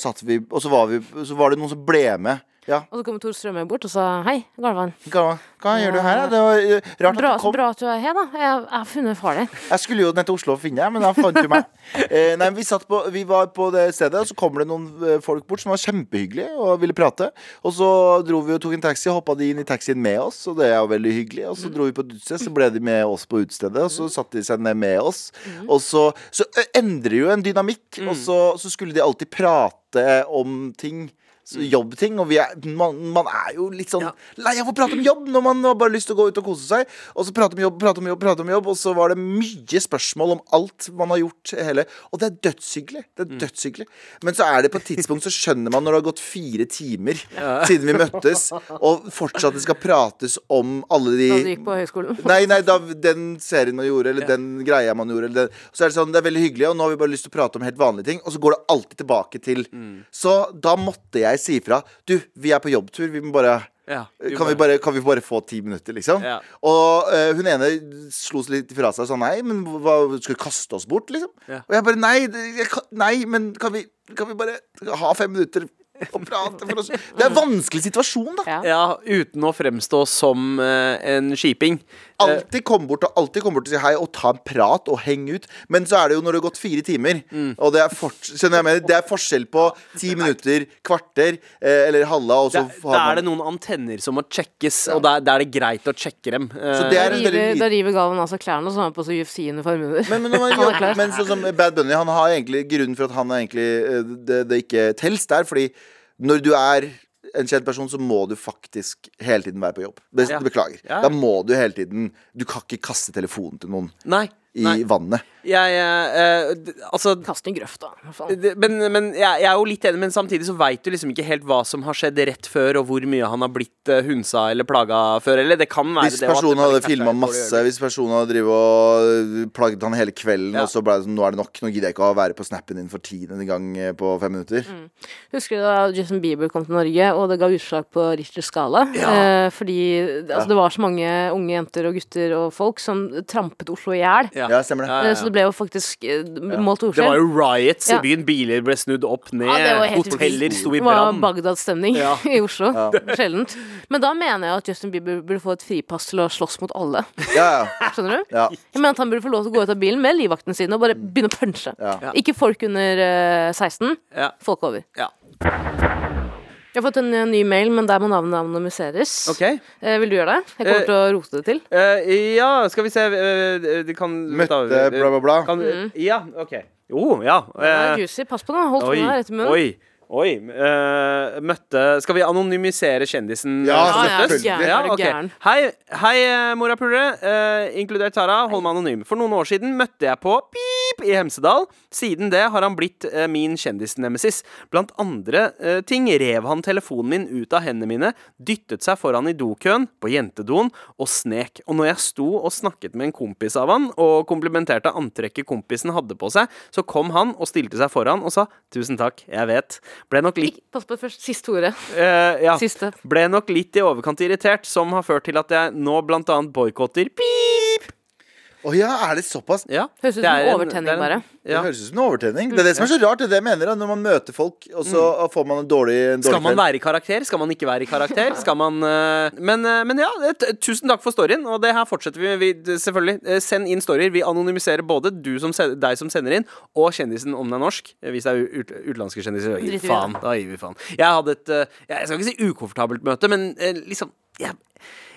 [SPEAKER 4] satt vi Og så var, vi, så var det noen som ble med. Ja,
[SPEAKER 3] Og så kom Tor Strømøy bort og sa hei, Galvan.
[SPEAKER 4] hva, hva gjør du her, da? Det var eh, rart
[SPEAKER 3] Bra,
[SPEAKER 4] at du kom.
[SPEAKER 3] bra at du er her, da. Jeg jeg har funnet far din.
[SPEAKER 4] Jeg skulle jo ned til Oslo og finne deg, men han fant jo meg. Eh, nei, men vi, satt på, vi var på det stedet, og så kommer det noen eh, folk bort som var kjempehyggelige og ville prate. Og så dro vi og tok en taxi, hoppa de inn i taxien med oss, og det er jo veldig hyggelig. Og så dro vi på et utested, så ble de med oss på utestedet, og så satte de seg ned med oss. Og så, så ø, endrer jo en dynamikk, og så, så skulle de alltid prate om ting. så Jobbting. Og vi er, man, man er jo litt sånn lei av å prate om jobb når man har bare lyst til å gå ut og kose seg. Og så prate om jobb, prate om jobb, prate om jobb. Og så var det mye spørsmål om alt man har gjort. Hele. Og det er dødshyggelig. Det er dødshyggelig. Men så er det på et tidspunkt så skjønner man når det har gått fire timer siden vi møttes, og fortsatt det skal prates om alle de
[SPEAKER 3] Da du gikk på høyskolen.
[SPEAKER 4] Nei, nei, da, den serien man gjorde, eller den greia man gjorde eller den, Så er det sånn, det er veldig hyggelig, og nå har vi bare lyst til å prate om helt vanlige ting Og så går det alltid tilbake til
[SPEAKER 2] Mm.
[SPEAKER 4] Så da måtte jeg si ifra Du, vi er på jobbtur, vi må bare
[SPEAKER 2] Ja, vi
[SPEAKER 4] kan, vi
[SPEAKER 2] bare-
[SPEAKER 4] bare, kan vi bare få ti minutter, liksom?
[SPEAKER 2] Ja.
[SPEAKER 4] Og eh, hun ene slo seg litt fra seg og sa nei, men hva, skal vi kaste oss bort, liksom?
[SPEAKER 2] Ja.
[SPEAKER 4] Og jeg bare nei, det, jeg, kan- nei men kan vi, kan vi bare ha fem minutter og prate for oss? Det er en vanskelig situasjon, da.
[SPEAKER 3] Ja.
[SPEAKER 2] Ja, uten å fremstå som eh, en skiping. Eh,
[SPEAKER 4] Alltid komme bort og alltid komme bort og si hei og ta en prat og henge ut. Men så er det jo når det har gått fire timer,
[SPEAKER 2] Mm.
[SPEAKER 4] og det er, fort, skjønner jeg mener, det er forskjell på ti minutter, kvarter eh, eller halva, og
[SPEAKER 2] det,
[SPEAKER 4] så
[SPEAKER 2] da
[SPEAKER 4] har
[SPEAKER 2] er det
[SPEAKER 4] man
[SPEAKER 2] noen antenner som må sjekkes, og da da er det greit å sjekke dem. Eh,
[SPEAKER 4] Så det er
[SPEAKER 3] Da
[SPEAKER 4] en
[SPEAKER 3] river,
[SPEAKER 4] veldig
[SPEAKER 3] da
[SPEAKER 4] liten
[SPEAKER 3] river Galvan av seg klærne og så har han på seg UFC-uniform under.
[SPEAKER 4] men,
[SPEAKER 2] [LAUGHS]
[SPEAKER 4] men, når man
[SPEAKER 3] Han er
[SPEAKER 4] jobber-
[SPEAKER 3] klar.
[SPEAKER 4] men sånn som Bad Bunny, han har egentlig grunnen for at han er egentlig eh, det, det ikke tels der, fordi når du er en kjent person, så må du faktisk hele tiden være på jobb. Be
[SPEAKER 2] Ja.
[SPEAKER 4] Beklager.
[SPEAKER 2] Ja.
[SPEAKER 4] Da må du hele tiden Du kan ikke kaste telefonen til noen
[SPEAKER 2] Nei.
[SPEAKER 4] i
[SPEAKER 2] nei.
[SPEAKER 4] vannet.
[SPEAKER 2] Jeg eh, eh, d- Altså
[SPEAKER 3] Kast den i grøfta. hva faen.
[SPEAKER 2] det, men, men jeg, jeg er jo litt enig, men samtidig så veit du liksom ikke helt hva som har skjedd rett før, og hvor mye han har blitt eh, hunsa eller plaga før. Eller det kan være
[SPEAKER 4] Hvis
[SPEAKER 2] det, og at
[SPEAKER 4] personen
[SPEAKER 2] det bare
[SPEAKER 4] hadde
[SPEAKER 2] catcher
[SPEAKER 4] filma
[SPEAKER 2] et dårlig
[SPEAKER 4] masse,
[SPEAKER 2] øyeblikk.
[SPEAKER 4] hvis personen hadde drivet og plagd han hele kvelden,
[SPEAKER 2] Ja.
[SPEAKER 4] og så ble det sånn Nå er det nok, nå gidder jeg ikke å være på snappen din for tiende gang eh, på fem minutter.
[SPEAKER 2] Mm.
[SPEAKER 3] Husker du da Justin Bieber kom til Norge, og det ga utslag på Richters skala? Eh, fordi det- altså, det var så mange unge jenter og gutter og folk som trampet Oslo i hjel.
[SPEAKER 2] Ja.
[SPEAKER 4] Ja, stemmer det.
[SPEAKER 2] Ja, ja, ja.
[SPEAKER 3] Eh, Så det ble jo faktisk eh, målt
[SPEAKER 2] Det var
[SPEAKER 3] ordskjell.
[SPEAKER 2] jo riots
[SPEAKER 3] Ja.
[SPEAKER 2] i byen. Biler ble snudd opp ned.
[SPEAKER 3] Ja, det var helt
[SPEAKER 2] Hoteller
[SPEAKER 3] vilt.
[SPEAKER 2] sto i
[SPEAKER 3] Det var
[SPEAKER 2] brann.
[SPEAKER 3] Bagdad-stemning
[SPEAKER 2] Ja.
[SPEAKER 3] [LAUGHS] i Oslo. Sjeldent. Men da mener jeg at Justin Bieber burde få et fripass til å slåss mot
[SPEAKER 2] [LAUGHS]
[SPEAKER 3] alle.
[SPEAKER 4] Ja, ja.
[SPEAKER 3] Skjønner du?
[SPEAKER 4] ja.
[SPEAKER 3] Jeg mener at han burde få lov til å gå ut av bilen med livvakten sin og bare begynne å punche.
[SPEAKER 4] Ja.
[SPEAKER 3] Ikke folk under eh, 16.
[SPEAKER 2] Ja.
[SPEAKER 3] Folk over.
[SPEAKER 2] Ja.
[SPEAKER 3] Jeg har fått en eh, ny mail, men der må navnet anonymiseres.
[SPEAKER 2] Ok.
[SPEAKER 3] Eh, vil du gjøre det? Jeg
[SPEAKER 2] Eh,
[SPEAKER 3] kommer til å rote det til.
[SPEAKER 2] Eh, ja, skal vi se eh, Det kan
[SPEAKER 4] Møtte bla, bla, bla.
[SPEAKER 2] Kan, Ja, OK. Jo, ja.
[SPEAKER 3] Mm. Ja,
[SPEAKER 2] eh,
[SPEAKER 3] Juicy, pass på nå. Hold
[SPEAKER 2] Oi,
[SPEAKER 3] tunga rett i munnen.
[SPEAKER 2] oi, oi. eh, møtte Skal vi anonymisere kjendisen?
[SPEAKER 4] Ja,
[SPEAKER 2] eh, som
[SPEAKER 4] ja, ja,
[SPEAKER 2] møttes?
[SPEAKER 4] gæren,
[SPEAKER 2] Ja,
[SPEAKER 3] er du
[SPEAKER 2] ok.
[SPEAKER 3] gæren.
[SPEAKER 2] Hei, hei eh, morapulere, eh, inkludert Tara. Hold meg anonym. For noen år siden møtte jeg på Pip i Hemsedal. Siden det har han blitt eh, min kjendisnemesis. Blant andre eh, ting rev han telefonen min ut av hendene mine, dyttet seg foran i dokøen på jentedoen og snek. Og når jeg sto og snakket med en kompis av han og komplimenterte antrekket kompisen hadde på seg, så kom han og stilte seg foran og sa 'tusen takk, jeg vet'. Ble nok litt
[SPEAKER 3] Pass på først siste ordet.
[SPEAKER 2] Eh, ja.
[SPEAKER 3] Siste.
[SPEAKER 2] Ble nok litt i overkant irritert, som har ført til at jeg nå blant annet boikotter Pip!
[SPEAKER 4] Å ja, er det såpass?
[SPEAKER 2] Ja,
[SPEAKER 3] Høres ut
[SPEAKER 2] det
[SPEAKER 3] som
[SPEAKER 2] er en-
[SPEAKER 3] overtenning
[SPEAKER 2] det er en-
[SPEAKER 3] bare.
[SPEAKER 4] Det
[SPEAKER 2] Ja.
[SPEAKER 4] høres ut som en overtenning. Det er det som er så rart. Det er det jeg mener. da, Når man møter folk, og så får man en dårlig, en dårlig
[SPEAKER 2] Mm. Skal man
[SPEAKER 4] kveld.
[SPEAKER 2] være i karakter? Skal man ikke være i karakter? Skal man eh, men, eh, men ja, eh, t- tusen takk for storyen, og det her fortsetter vi med. Vi- Selvfølgelig. eh, Send inn storyer. Vi anonymiserer både du som, se- deg som sender inn, og kjendisen om den er norsk. Eh, Hvis det er u- ut, utenlandske kjendiser, da gir vi
[SPEAKER 3] Driter vi i
[SPEAKER 2] faen. Da gir vi faen. Jeg hadde et eh, Jeg skal ikke si ukomfortabelt møte, men eh, liksom jeg,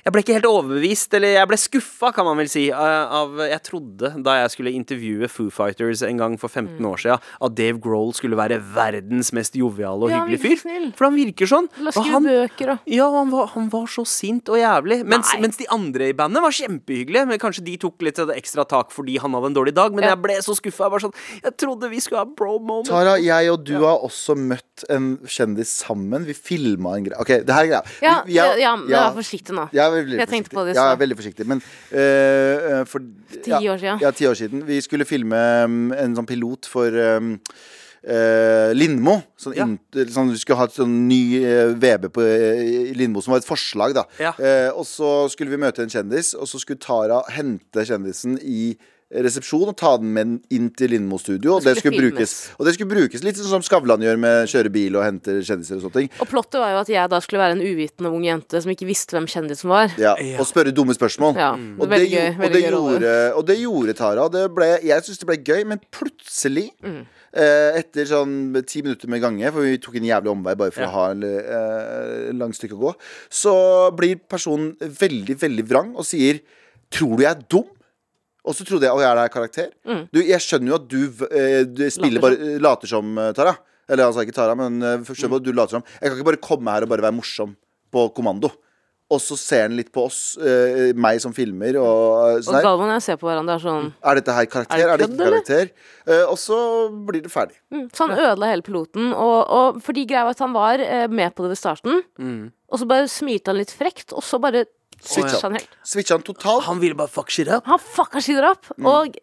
[SPEAKER 2] jeg ble ikke helt overbevist, eller jeg ble skuffa, kan man vel si, eh, av Jeg trodde da jeg skulle intervjue Foo Fighters en gang for 15 år siden, at Dave Grohl skulle være verdens mest joviale og
[SPEAKER 3] Ja, han
[SPEAKER 2] hyggelige
[SPEAKER 3] virker
[SPEAKER 2] fyr.
[SPEAKER 3] snill.
[SPEAKER 2] For han virker sånn.
[SPEAKER 3] La oss
[SPEAKER 2] Og
[SPEAKER 3] skrive
[SPEAKER 2] han-
[SPEAKER 3] bøker, da.
[SPEAKER 2] ja, han var, han var så sint og jævlig. Mens,
[SPEAKER 3] Nei.
[SPEAKER 2] mens de andre i bandet var kjempehyggelige. Men kanskje de tok litt sånn ekstra tak fordi han hadde en dårlig dag. Men
[SPEAKER 3] Ja.
[SPEAKER 2] jeg ble så skuffa. Jeg, var sånn, jeg trodde vi skulle ha bro moment.
[SPEAKER 4] Tara, jeg og du har også møtt en kjendis sammen. Vi filma en greie. OK, det her er greia.
[SPEAKER 3] Ja,
[SPEAKER 4] Vi- jeg-
[SPEAKER 3] ja, men
[SPEAKER 4] ja.
[SPEAKER 3] vær forsiktig nå.
[SPEAKER 4] Jeg, er veldig
[SPEAKER 3] Jeg tenkte
[SPEAKER 4] forsiktig.
[SPEAKER 3] på det i
[SPEAKER 4] Jeg er
[SPEAKER 3] stad.
[SPEAKER 4] veldig forsiktig. Men øh, øh, for
[SPEAKER 3] Ti år siden.
[SPEAKER 4] Ja, ti år siden. Vi skulle filme um, en sånn pilot for um, eh, Lindmo. Sånn,
[SPEAKER 2] Ja.
[SPEAKER 4] int- sånn, vi skulle ha et sånn ny eh, VB på eh, Lindmo, som var et forslag, da.
[SPEAKER 2] Ja.
[SPEAKER 4] Eh, og så skulle vi møte en kjendis, og så skulle Tara hente kjendisen i resepsjon og ta den med inn til Lindmo studio. Og det
[SPEAKER 3] Det skulle
[SPEAKER 4] skulle brukes Og det skulle brukes litt sånn som Skavlan gjør med kjøre bil og henter kjendiser og sånne ting.
[SPEAKER 3] Og plottet var jo at jeg da skulle være en uvitende ung jente som ikke visste hvem kjendisen var.
[SPEAKER 4] Ja, Og spørre dumme spørsmål.
[SPEAKER 3] Ja,
[SPEAKER 2] Mm.
[SPEAKER 4] Og det,
[SPEAKER 3] veldig
[SPEAKER 4] gjo-
[SPEAKER 3] gøy,
[SPEAKER 4] og,
[SPEAKER 3] veldig
[SPEAKER 4] det
[SPEAKER 3] gøy rolle.
[SPEAKER 4] gjorde, og det gjorde Tara. og Det ble, jeg syns det ble gøy, men plutselig
[SPEAKER 3] Mm.
[SPEAKER 4] eh, Etter sånn ti minutter med gange, for vi tok en jævlig omvei bare for
[SPEAKER 2] Ja.
[SPEAKER 4] å ha en eh, lang stykke å gå, så blir personen veldig, veldig vrang og sier Tror du jeg er dum? Og så trodde jeg, og jeg er der karakter du, Jeg skjønner jo at du, v- eh, du spiller
[SPEAKER 3] Mm. Later
[SPEAKER 4] bare eh, Later som, eh, Tara Eller altså ikke Tara, men eh,
[SPEAKER 3] Mm.
[SPEAKER 4] skjønner at du later som Jeg kan ikke bare komme her og bare være morsom På kommando Og så ser han litt på oss eh, Meg som filmer og, eh,
[SPEAKER 3] Og
[SPEAKER 4] sånn her.
[SPEAKER 3] Galvan og jeg ser på hverandre og er sånn
[SPEAKER 4] Er dette her karakter?
[SPEAKER 3] Er
[SPEAKER 4] Er
[SPEAKER 3] det
[SPEAKER 4] det
[SPEAKER 3] kødd,
[SPEAKER 4] ikke
[SPEAKER 3] eller?
[SPEAKER 4] karakter? Eh, og så blir det ferdig
[SPEAKER 3] mm. Så han ødela hele piloten. Og, og fordi greia var at han var eh, med på det ved starten,
[SPEAKER 2] Mm.
[SPEAKER 3] og så bare smilte han litt frekt, og så bare
[SPEAKER 4] Switcha.
[SPEAKER 3] switcha han helt.
[SPEAKER 4] Switcher han totalt
[SPEAKER 2] Han ville bare fuck shit up.
[SPEAKER 3] Han fucka skider opp!
[SPEAKER 4] Mm.
[SPEAKER 3] Og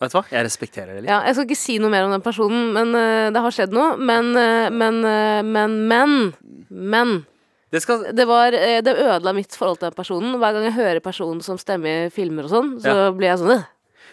[SPEAKER 2] Vet du hva? Jeg respekterer det litt.
[SPEAKER 3] ja, jeg skal ikke si noe mer om den personen, men eh, det har skjedd noe. Men, eh, men, eh, men, men, men.
[SPEAKER 2] Det skal,
[SPEAKER 3] det, var, eh, det ødela mitt forhold til den personen. Hver gang jeg hører personen som stemmer i filmer og sånn, så
[SPEAKER 2] Ja.
[SPEAKER 3] blir jeg sånn «Øh».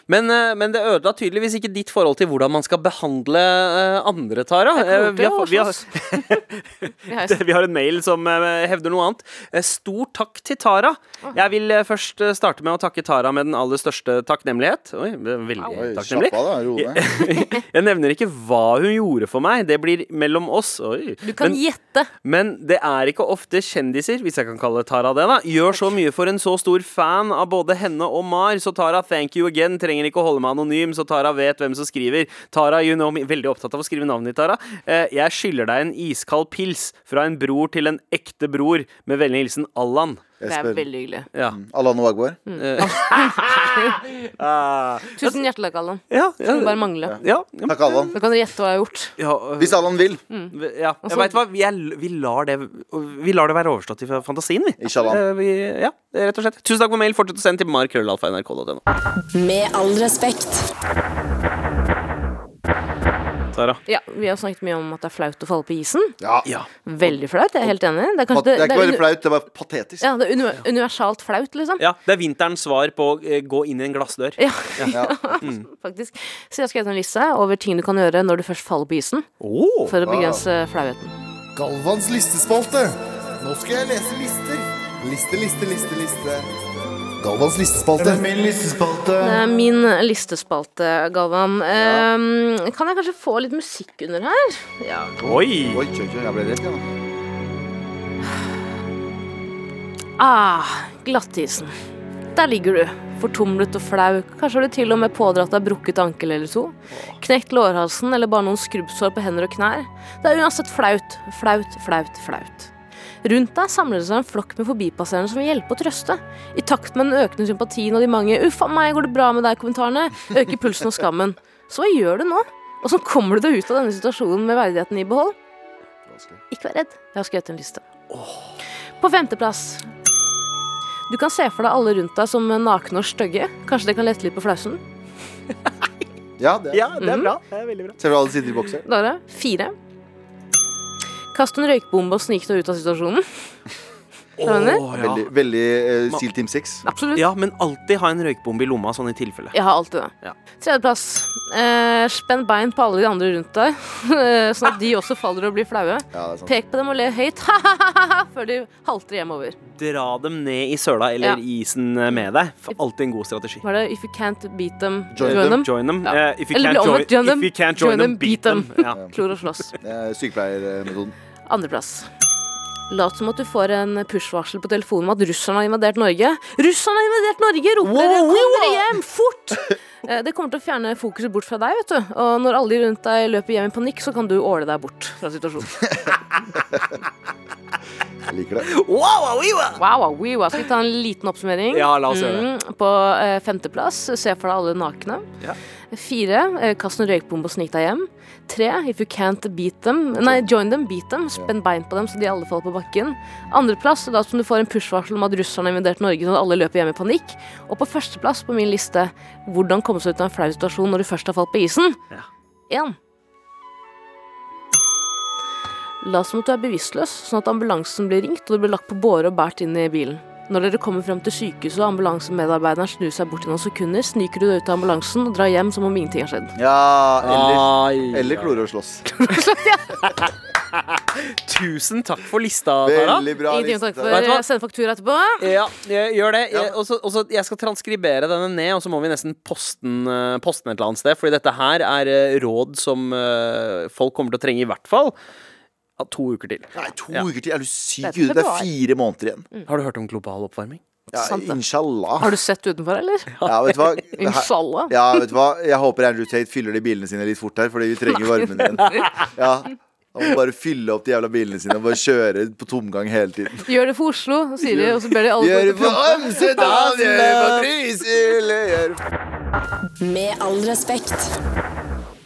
[SPEAKER 2] men, eh, men det ødela tydeligvis ikke ditt forhold til hvordan man skal behandle eh, andre, Tara. Eh,
[SPEAKER 3] kommer
[SPEAKER 2] Vi
[SPEAKER 3] til
[SPEAKER 2] har,
[SPEAKER 3] å
[SPEAKER 2] fa- vi har,
[SPEAKER 3] slåss.
[SPEAKER 2] [LAUGHS] Vi har- Vi har en mail som eh, hevder noe annet. Eh, Stor takk til Tara. Jeg vil eh, først eh, starte med å takke Tara med den aller største takknemlighet. Oi, det er veldig
[SPEAKER 4] Oi,
[SPEAKER 2] takknemlig.
[SPEAKER 4] slapp av da, ro deg
[SPEAKER 2] [LAUGHS]
[SPEAKER 3] [LAUGHS]
[SPEAKER 2] Jeg nevner ikke hva hun gjorde for meg. Det blir mellom oss. Oi.
[SPEAKER 3] Du kan
[SPEAKER 2] men,
[SPEAKER 3] gjette.
[SPEAKER 2] men det er ikke ofte kjendiser, hvis jeg kan kalle Tara det, da, gjør så mye for en så stor fan av både henne og Mar. Så Tara, thank you again. Trenger ikke å holde meg anonym, så Tara vet hvem som skriver. Tara, you know me. Veldig opptatt av å skrive navnet ditt, Tara. Eh, jeg skylder deg en iskald pils fra en bror til en ekte bror. Med vennlig hilsen Allan.
[SPEAKER 4] Jeg
[SPEAKER 3] Det er
[SPEAKER 4] spør-
[SPEAKER 3] veldig hyggelig.
[SPEAKER 2] Ja.
[SPEAKER 4] Allan og Agbar
[SPEAKER 3] Mm.
[SPEAKER 2] Ah,
[SPEAKER 3] Tusen hjertelig takk, Allan.
[SPEAKER 2] ja, ja,
[SPEAKER 3] Skulle bare mangle.
[SPEAKER 2] ja, ja,
[SPEAKER 4] Takk Allan
[SPEAKER 3] Nå kan du gjette hva jeg har gjort.
[SPEAKER 2] ja, øh.
[SPEAKER 4] Hvis Allan vil
[SPEAKER 3] Mm.
[SPEAKER 2] Ja, jeg vet hva, vi, er, vi, lar det, vi lar det være overstått i fantasien, vi.
[SPEAKER 4] Inshallah.
[SPEAKER 2] Eh, vi ja, rett og slett. Tusen takk for mail. Fortsett å sende til markrøllalfa.nrk.no.
[SPEAKER 1] Med all respekt.
[SPEAKER 2] Tara.
[SPEAKER 3] Ja, Vi har snakket mye om at det er flaut å falle på isen.
[SPEAKER 4] ja.
[SPEAKER 2] Ja.
[SPEAKER 3] Veldig flaut. Jeg er helt enig. Det er
[SPEAKER 4] Pat-
[SPEAKER 3] kanskje
[SPEAKER 4] Det er ikke bare
[SPEAKER 3] uni-
[SPEAKER 4] flaut, det er bare patetisk
[SPEAKER 3] Ja, det er uni universalt flaut, liksom.
[SPEAKER 2] ja. Det er vinterens svar på eh, gå inn i en glassdør.
[SPEAKER 3] Ja, [LAUGHS]
[SPEAKER 4] Ja.
[SPEAKER 2] Mm.
[SPEAKER 3] faktisk. Så jeg har skrevet en liste over ting du kan gjøre når du først faller på isen,
[SPEAKER 2] Åh.
[SPEAKER 3] for å begrense flauheten.
[SPEAKER 5] Galvans listespalte. Nå skal jeg lese lister. Liste, liste, liste, liste. Galvans listespalte. Det er min listespalte.
[SPEAKER 3] Det er min listespalte, Galvan. Ehm, kan jeg kanskje få litt musikk under her? Ja.
[SPEAKER 4] Oi,
[SPEAKER 2] Oi!
[SPEAKER 4] oi, oi, jeg ble redd ja.
[SPEAKER 3] Ah, glattisen. Der ligger du, fortumlet og flau. Kanskje har du til og med pådratt deg brukket ankel eller to. Knekt lårhalsen eller bare noen skrubbsår på hender og knær. Det er uansett flaut, flaut, flaut, flaut. Rundt deg samler det seg en flokk med forbipasserende som vil hjelpe og trøste. I takt med den økende sympatien og de mange 'uff a meg, går det bra med deg'-kommentarene, øker pulsen og skammen. Så hva gjør du nå? Og så kommer du deg ut av denne situasjonen med verdigheten i behold? Ikke vær redd, jeg har skrevet en liste. På femteplass du kan se for deg alle rundt deg som nakne og stygge. Kanskje det kan lette litt på flausen.
[SPEAKER 4] Ja, det
[SPEAKER 2] Ja, det er bra.
[SPEAKER 3] Mm.
[SPEAKER 2] Det er veldig bra.
[SPEAKER 4] Ser du alle sider i bokser?
[SPEAKER 3] Dara, fire. Kast en røykbombe og snik deg ut av situasjonen. Skjønner?
[SPEAKER 2] Åh, ja.
[SPEAKER 4] Veldig, veldig eh, Steel Team 6
[SPEAKER 3] Absolutt.
[SPEAKER 2] ja, men alltid ha en røykbombe i lomma, sånn i tilfelle.
[SPEAKER 3] Jeg har alltid det.
[SPEAKER 2] Ja.
[SPEAKER 3] Tredjeplass. Eh, spenn bein på alle de andre rundt deg, [LAUGHS] sånn at de også faller og blir flaue.
[SPEAKER 4] Ja, det er sant
[SPEAKER 3] Pek på dem og le høyt [LAUGHS] før de halter hjemover.
[SPEAKER 2] Dra dem ned i søla eller
[SPEAKER 3] Ja.
[SPEAKER 2] i isen eh, med deg. For Alltid en god strategi.
[SPEAKER 3] Hva er det? If you can't beat them,
[SPEAKER 4] Join
[SPEAKER 3] join,
[SPEAKER 4] them.
[SPEAKER 3] them.
[SPEAKER 2] Join them.
[SPEAKER 3] Ja.
[SPEAKER 2] Eh, if, you
[SPEAKER 3] Eller
[SPEAKER 2] can't
[SPEAKER 3] bli
[SPEAKER 2] join,
[SPEAKER 3] omvendt, join
[SPEAKER 2] if
[SPEAKER 3] them.
[SPEAKER 2] you can't join, them, beat them. Ja.
[SPEAKER 3] Klor og slåss.
[SPEAKER 4] Det er Sykepleiermetoden
[SPEAKER 3] Andreplass. Lat som at du får en push-varsel på telefonen om at russerne har invadert Norge. Russerne har invadert Norge! roper dere. Kom dere hjem! Fort! Eh, Det kommer til å fjerne fokuset bort fra deg, vet du. Og når alle de rundt deg løper hjem i panikk, så kan du åle deg bort fra situasjonen.
[SPEAKER 4] Jeg liker det.
[SPEAKER 2] Wow, wow, wow.
[SPEAKER 3] Wow, wow, wow. Skal vi ta en liten oppsummering?
[SPEAKER 2] Ja, la oss gjøre det.
[SPEAKER 3] Mm, På eh, femteplass, se for deg alle nakne.
[SPEAKER 2] Ja.
[SPEAKER 3] Fire, eh, kast en røykbombe og snik deg hjem. Tre, if you can't beat them Nei, join them, beat them. Spenn bein på dem så de alle faller på bakken. Andreplass, da som du får en push-varsel om at russerne har invadert Norge så alle løper hjem i panikk. Og på førsteplass på min liste, hvordan komme seg ut av en flau situasjon når du først har falt på isen. Én. La oss som at du er bevisstløs, sånn at ambulansen blir ringt og du blir lagt på båre og båret inn i bilen. Når dere kommer frem til sykehuset og ambulansemedarbeideren snur seg bort i noen sekunder, sniker du deg ut av ambulansen og drar hjem som om ingenting har skjedd.
[SPEAKER 4] Ja,
[SPEAKER 3] Ah.
[SPEAKER 4] eller,
[SPEAKER 2] Ai,
[SPEAKER 4] eller
[SPEAKER 2] ja.
[SPEAKER 4] klore å slåss.
[SPEAKER 2] Tusen takk for lista, Tara.
[SPEAKER 4] Veldig bra
[SPEAKER 3] Ingenting å
[SPEAKER 4] liste.
[SPEAKER 3] takke for.
[SPEAKER 2] Vet du hva?
[SPEAKER 3] Jeg sender faktura etterpå.
[SPEAKER 2] Ja, jeg gjør det.
[SPEAKER 4] Ja.
[SPEAKER 2] Jeg, også, også, jeg skal transkribere denne ned, og så må vi nesten poste den eh, poste den et eller annet sted. Fordi dette her er eh, råd som eh, folk kommer til å trenge i hvert fall ja, to uker til.
[SPEAKER 4] Nei, to
[SPEAKER 2] Ja.
[SPEAKER 4] uker til. Er du syk
[SPEAKER 3] Dette
[SPEAKER 4] i huet? Det
[SPEAKER 3] februar.
[SPEAKER 4] er fire måneder igjen.
[SPEAKER 2] Har du hørt om global oppvarming?
[SPEAKER 4] Ja,
[SPEAKER 3] Sant det.
[SPEAKER 4] inshallah.
[SPEAKER 3] Har du sett utenfor, eller?
[SPEAKER 4] Ja, vet du hva? Det her-
[SPEAKER 3] [LAUGHS] Inshallah.
[SPEAKER 4] Ja, vet du hva? Jeg håper Andrew Tate fyller de bilene sine litt fort her, fordi vi trenger varmen igjen.
[SPEAKER 3] [LAUGHS]
[SPEAKER 4] Ja. Han må bare fylle opp de jævla bilene sine og bare kjøre på tomgang hele tiden.
[SPEAKER 3] Gjør det for Oslo, sier de, og så ber de alle
[SPEAKER 4] Gjør
[SPEAKER 3] gå til
[SPEAKER 4] på Amsterdam, gjør på Trysil, gjør
[SPEAKER 1] Med all respekt.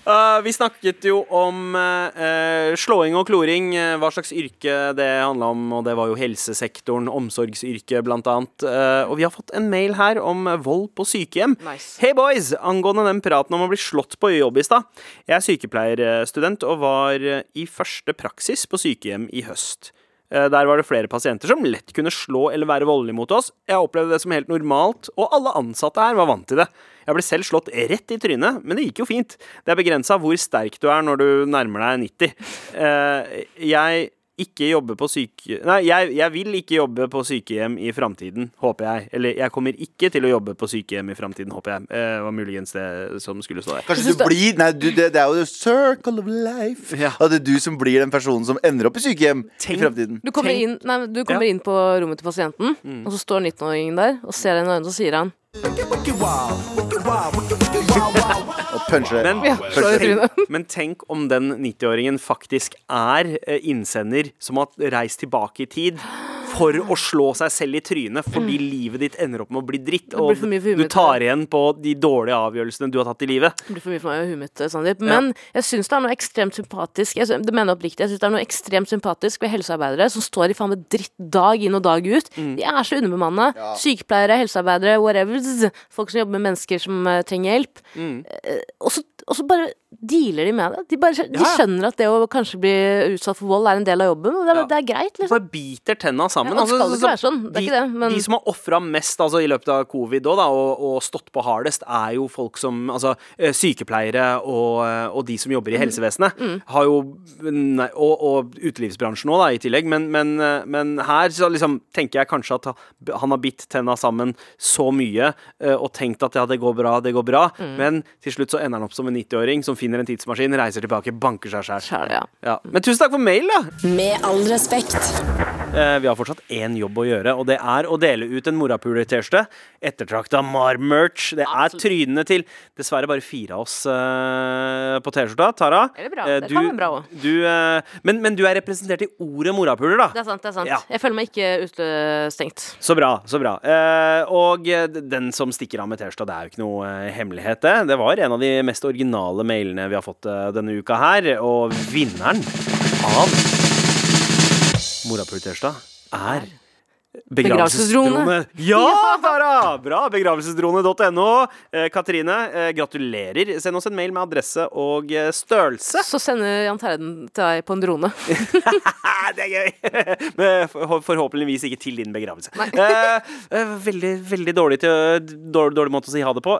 [SPEAKER 2] Eh, vi snakket jo om eh, eh, slåing og kloring, eh, hva slags yrke det handla om, og det var jo helsesektoren, omsorgsyrke blant annet. Eh, og vi har fått en mail her om eh, vold på sykehjem.
[SPEAKER 3] Nice.
[SPEAKER 2] Hei boys, angående den praten om å bli slått på jobb i stad. Jeg er sykepleierstudent og var eh, i første praksis på sykehjem i høst. Eh, Der var det flere pasienter som lett kunne slå eller være voldelige mot oss. Jeg opplevde det som helt normalt, og alle ansatte her var vant til det. Jeg ble selv slått rett i trynet, men det gikk jo fint. Det er begrensa hvor sterk du er når du nærmer deg 90. Eh, Jeg ikke jobbe på syke... Nei, jeg, jeg vil ikke jobbe på sykehjem i framtiden, håper jeg. Eller jeg kommer ikke til å jobbe på sykehjem i framtiden, håper jeg. Eh, var muligens det som skulle stå der.
[SPEAKER 4] Kanskje du blir Nei, du, det, det er jo the circle of life.
[SPEAKER 2] Ja.
[SPEAKER 4] At det er du som blir den personen som ender opp i sykehjem i
[SPEAKER 2] Tenk-
[SPEAKER 4] fremtiden.
[SPEAKER 3] Du kommer,
[SPEAKER 2] Tenk-
[SPEAKER 3] inn, nei, men du kommer inn på rommet til pasienten,
[SPEAKER 4] Mm.
[SPEAKER 3] og så står 19-åringen der og ser deg inn i øynene, og så sier han
[SPEAKER 4] Og puncher deg.
[SPEAKER 2] Men,
[SPEAKER 3] Ja, slår i trynet.
[SPEAKER 2] men tenk om den 90-åringen faktisk er eh, innsender som har reist tilbake i tid for å slå seg selv i trynet fordi livet ditt ender opp med å bli dritt,
[SPEAKER 3] blir
[SPEAKER 2] og
[SPEAKER 3] for mye for
[SPEAKER 2] du
[SPEAKER 3] humøret.
[SPEAKER 2] tar igjen på de dårlige avgjørelsene du har tatt i livet.
[SPEAKER 3] Det blir for mye for meg og huet mitt, Sandeep. Men jeg syns det er noe ekstremt sympatisk jeg, sy- Det mener jeg oppriktig. Jeg synes det er noe ekstremt sympatisk ved helsearbeidere som står i faen meg dritt dag inn og dag ut.
[SPEAKER 2] Mm.
[SPEAKER 3] De er så underbemanna. Sykepleiere, helsearbeidere, whatevers. Folk som jobber med mennesker som eh, trenger hjelp.
[SPEAKER 2] Mm.
[SPEAKER 3] Eh, og så- og så bare dealer de med det. De, bare, skjø- de
[SPEAKER 2] Ja.
[SPEAKER 3] skjønner at det å kanskje bli utsatt for vold er en del av jobben. Og det, er-
[SPEAKER 2] Ja.
[SPEAKER 3] det er greit, liksom.
[SPEAKER 2] Bare biter tenna sammen.
[SPEAKER 3] Ja, og det skal
[SPEAKER 2] Altså,
[SPEAKER 3] ikke være sånn. Det er
[SPEAKER 2] de,
[SPEAKER 3] ikke det, men-
[SPEAKER 2] de som har ofra mest altså, i løpet av covid også, da, og, og stått på hardest, er jo folk som altså, eh, Sykepleiere og, eh, og de som jobber
[SPEAKER 3] Mhm.
[SPEAKER 2] i helsevesenet.
[SPEAKER 3] Mm.
[SPEAKER 2] Har jo, nei, og, og utelivsbransjen òg, i tillegg. Men, men, eh, men her så liksom, tenker jeg kanskje at han har bitt tenna sammen så mye eh, og tenkt at ja, det går bra, det går bra.
[SPEAKER 3] Mm.
[SPEAKER 2] Men til slutt så ender han opp som en 90-åring som finner en tidsmaskin, reiser tilbake, banker seg
[SPEAKER 3] Skjær det,
[SPEAKER 2] sjæl.
[SPEAKER 3] ja.
[SPEAKER 2] Ja. Men tusen takk for mail, da!
[SPEAKER 1] Med all respekt.
[SPEAKER 2] Eh, Vi har fortsatt én jobb å gjøre, og det er å dele ut en morapuler-T-skjorte. Ettertrakta Mar-merch. Det er trynene til dessverre bare fire av oss eh, på T-skjorta. Tara,
[SPEAKER 3] Det er bra.
[SPEAKER 2] eh,
[SPEAKER 3] Det
[SPEAKER 2] du-
[SPEAKER 3] kan være bra også.
[SPEAKER 2] du, eh, men, men du er representert i ordet morapuler, da.
[SPEAKER 3] Det er sant. det er sant
[SPEAKER 2] Ja.
[SPEAKER 3] Jeg føler meg ikke utestengt.
[SPEAKER 2] Så bra, så bra. Eh, og eh, den som stikker av med T-skjorta, det er jo ikke noe eh, hemmelighet, det. Det var en av de mest originale mailene vi har fått eh, denne uka her, og vinneren av Morapuler-T-skjorta er Begravelsesdrone.
[SPEAKER 3] Begravelsesdrone.
[SPEAKER 2] Ja, Tara! Bra. Begravelsesdrone.no. Eh, Katrine, eh, gratulerer. Send oss en mail med adresse og eh, størrelse.
[SPEAKER 3] Så sender Jan Terje den til deg på en drone.
[SPEAKER 2] Ah, det er gøy! [LAUGHS] Men for- forhåpentligvis ikke til din begravelse. Eh, eh, veldig veldig dårlig, til, dårlig, dårlig måte å si ha det på.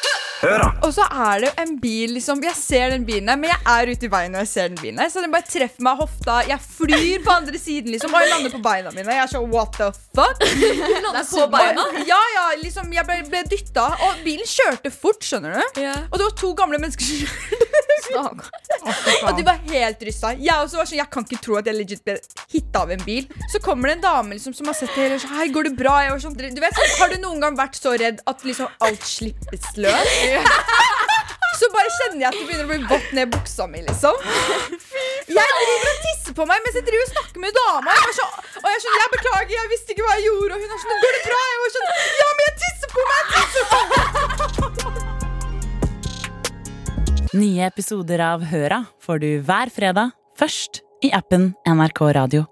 [SPEAKER 6] Og så er det jo en bil liksom Jeg ser den bilen her, men jeg er ute i veien når jeg ser den bilen her. Så den bare treffer meg i hofta. Jeg flyr på andre siden, liksom. Og jeg lander på beina mine. Jeg er sånn what the
[SPEAKER 7] [LAUGHS]
[SPEAKER 6] fuck?
[SPEAKER 7] Lande på beina.
[SPEAKER 6] Ja, ja, liksom Jeg ble, ble dytta, og bilen kjørte fort, skjønner du.
[SPEAKER 7] Ja.
[SPEAKER 6] Og det var to gamle mennesker som kjørte. [LAUGHS] Og de var helt rysta. Jeg også var sånn, jeg kan ikke tro at jeg legit ble hitta av en bil. Så kommer det en dame liksom som har sett det hele og sånn Hei, går det bra? Jeg var sånn, dere- du vet, sånn, Har du noen gang vært så redd at liksom alt slippes løs? Så bare kjenner jeg at det begynner å bli vått ned i buksa mi, liksom. Jeg driver og tisser på meg mens jeg driver og snakker med dama. Jeg var så, og jeg er sånn, jeg beklager, jeg visste ikke hva jeg gjorde. Og hun er sånn, går det bra? Jeg var sånn, ja, men jeg tisser på meg! Jeg tisser på meg!
[SPEAKER 8] Nye episoder av Høra får du hver fredag, først i appen NRK Radio.